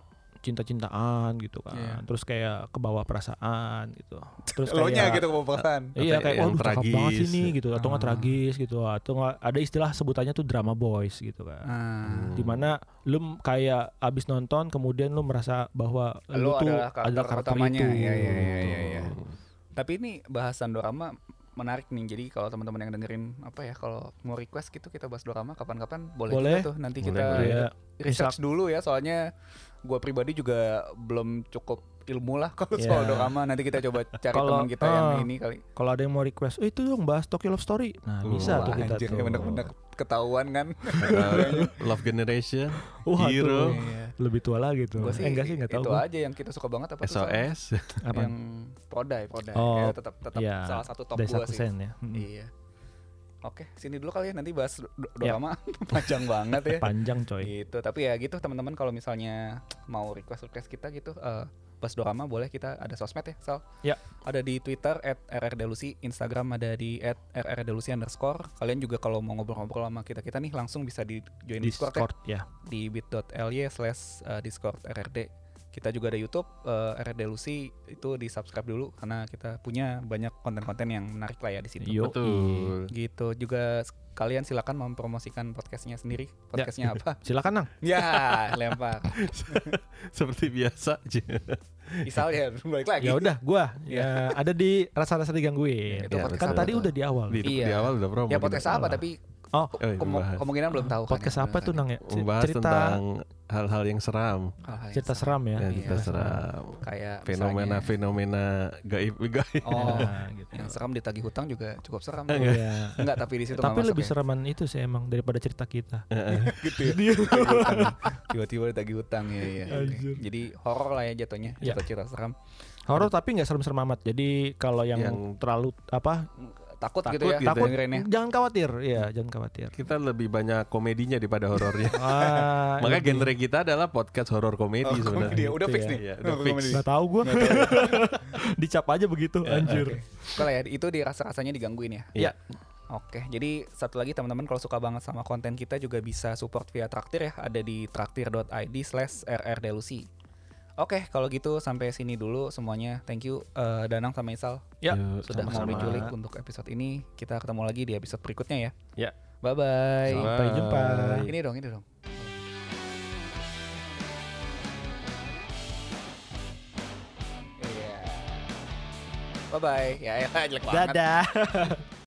S1: cinta-cintaan gitu kan.
S3: Iya.
S1: Terus kayak kebawa perasaan gitu. Terus
S3: Elonya
S1: kayak
S3: gitu kebawasan.
S1: Iya
S2: Atau
S1: kayak
S2: yang
S1: waduh cakep banget sih
S2: tragis.
S1: nih gitu atau nggak
S3: Ah.
S1: tragis gitu atau nggak ada istilah sebutannya tuh drama boys gitu kan.
S3: Ah.
S2: Hmm.
S1: dimana lu kayak abis nonton kemudian lu merasa bahwa lu,
S3: Lu
S1: tuh
S3: adalah karakter
S1: adalah karakter
S3: utamanya.
S1: itu gitu.
S3: Iya, iya, iya, iya, iya.
S2: Betul.
S3: Tapi ini bahasan dorama menarik nih. Jadi kalau teman-teman yang dengerin apa ya kalau mau request gitu kita bahas dorama kapan-kapan boleh,
S1: Boleh.
S3: juga tuh. Nanti
S2: Boleh,
S3: kita
S2: boleh.
S1: Iya.
S3: research dulu ya soalnya gua pribadi juga belum cukup ilmu lah kalau
S1: Iya.
S3: soal dorama. Nanti kita coba cari
S1: Kalau-
S3: teman kita yang
S1: ah.
S3: ini kali.
S1: kalau ada yang mau request "Eh, itu dong bahas Tokyo Love Story nah
S2: Wah,
S1: bisa tuh
S3: Wah,
S1: kita
S3: anjir,
S1: tuh.
S3: ya bener-bener ketahuan kan.
S2: Ada Love Generation,
S1: Wah, tuh.
S2: Hero,
S3: Iya.
S1: lebih tua lagi tuh
S3: Gua sih
S1: eh, enggak sih enggak tahu
S3: itu
S1: gua.
S3: aja yang kita suka banget apa tuh, Oh, iya. Sal?
S2: SOS.
S1: apa
S3: yang prodai prodai
S1: Oh,
S3: ya, tetap tetap
S1: iya.
S3: salah satu top
S1: dari
S3: gua
S1: satu
S3: sih
S1: sen ya Hmm.
S3: iya oke sini dulu kali ya nanti bahas do- do-
S1: Yap.
S3: drama panjang banget ya
S1: Iya. panjang iya. coy
S3: gitu tapi ya gitu teman-teman kalau misalnya mau request request kita gitu eh bahas drama boleh kita ada sosmed ya Sal
S1: Ya.
S3: ada di Twitter at rrdelusi Instagram ada di at rrdelusi underscore kalian juga kalau mau ngobrol-ngobrol sama kita kita nih langsung bisa di join Discord, ya
S1: Discord ya
S3: di bit.ly slash eh, discord rrd kita juga ada YouTube eh, RRD Lucy itu di subscribe dulu karena kita punya banyak konten-konten yang menarik lah ya di situ.
S1: Yo.
S2: Betul.
S3: Gitu juga s- kalian silakan mempromosikan podcastnya sendiri.
S1: Ya.
S3: Podcastnya apa?
S1: silakan nang
S3: ya lempar.
S2: Seperti biasa aja.
S3: Isal ya balik lagi. Iya.
S1: ya udah gua ya ada di rasa-rasa digangguin
S3: Itu
S2: Ya,
S3: podcast
S1: kan
S2: betul,
S3: apa
S1: tadi
S3: tuh?
S1: udah di awal
S2: Di,
S3: Iya.
S2: di awal udah promo. gitu.
S3: Ya
S2: kita.
S3: podcast apa tapi
S1: oh
S3: ke-
S2: Eh,
S3: kemo-
S2: dibahas.
S3: kemungkinan belum tahu. kan
S1: podcast
S3: ya,
S1: apa tuh
S3: belum tahu.
S1: nang ya Ce-
S2: Membahas tentang
S1: cerita
S2: hal-hal yang seram.
S3: Hal-hal yang
S1: cerita seram
S2: Ya,
S1: ya
S3: Oh, Iya.
S2: cerita seram.
S3: kayak misalnya-
S2: Fenomena-fenomena gaib gaib.
S3: Oh,
S1: Nah, gitu
S3: yang seram ditagih hutang juga cukup seram.
S1: Iya.
S3: Enggak, tapi di situ nggak
S1: Tapi
S3: masuk
S1: lebih
S3: ya.
S1: sereman itu sih emang daripada cerita kita.
S3: gitu ya. Tagih hutang. Tiba-tiba ditagih hutang ya, ya.
S1: Anjir.
S3: Jadi horor lah ya jatuhnya,
S1: Ya.
S2: Iya.
S3: cerita-cerita seram.
S1: Horor tapi nggak serem-serem amat. Jadi kalau yang,
S2: Yang-
S1: terlalu apa
S3: Takut,
S2: Takut
S3: gitu ya,
S2: gitu
S1: takut
S3: dengerinnya.
S1: jangan khawatir. Iya, jangan khawatir.
S2: Kita lebih banyak komedinya daripada horornya.
S1: Ah,
S2: Makanya genre kita adalah podcast horor komedi
S3: Oh, komedi
S2: sebenarnya.
S3: ya, udah
S1: Gitu
S3: fix
S1: ya.
S3: nih.
S2: Iya, udah fix.
S1: nggak tahu gua. Dicap aja begitu anjir.
S3: Oke lah ya, itu dirasa-rasanya digangguin ya.
S2: Iya.
S3: Oke, jadi satu lagi teman-teman kalau suka banget sama konten kita juga bisa support via Traktir ya, ada di traktir.id slash rrdelusi. Oke, kalau gitu sampai sini dulu semuanya. Thank you eh, Danang sama Isal
S1: Ya,
S2: Yuk,
S3: sudah mau
S1: sama-sama.
S3: diculik untuk episode ini. Kita ketemu lagi di episode berikutnya
S1: Ya.
S3: ya. Bye-bye.
S1: Sampai jumpa.
S2: Bye.
S3: Ini dong, ini dong. Iya. Bye Dạ, bye. Ya, ya jelek banget.
S1: Dạ, Dadah.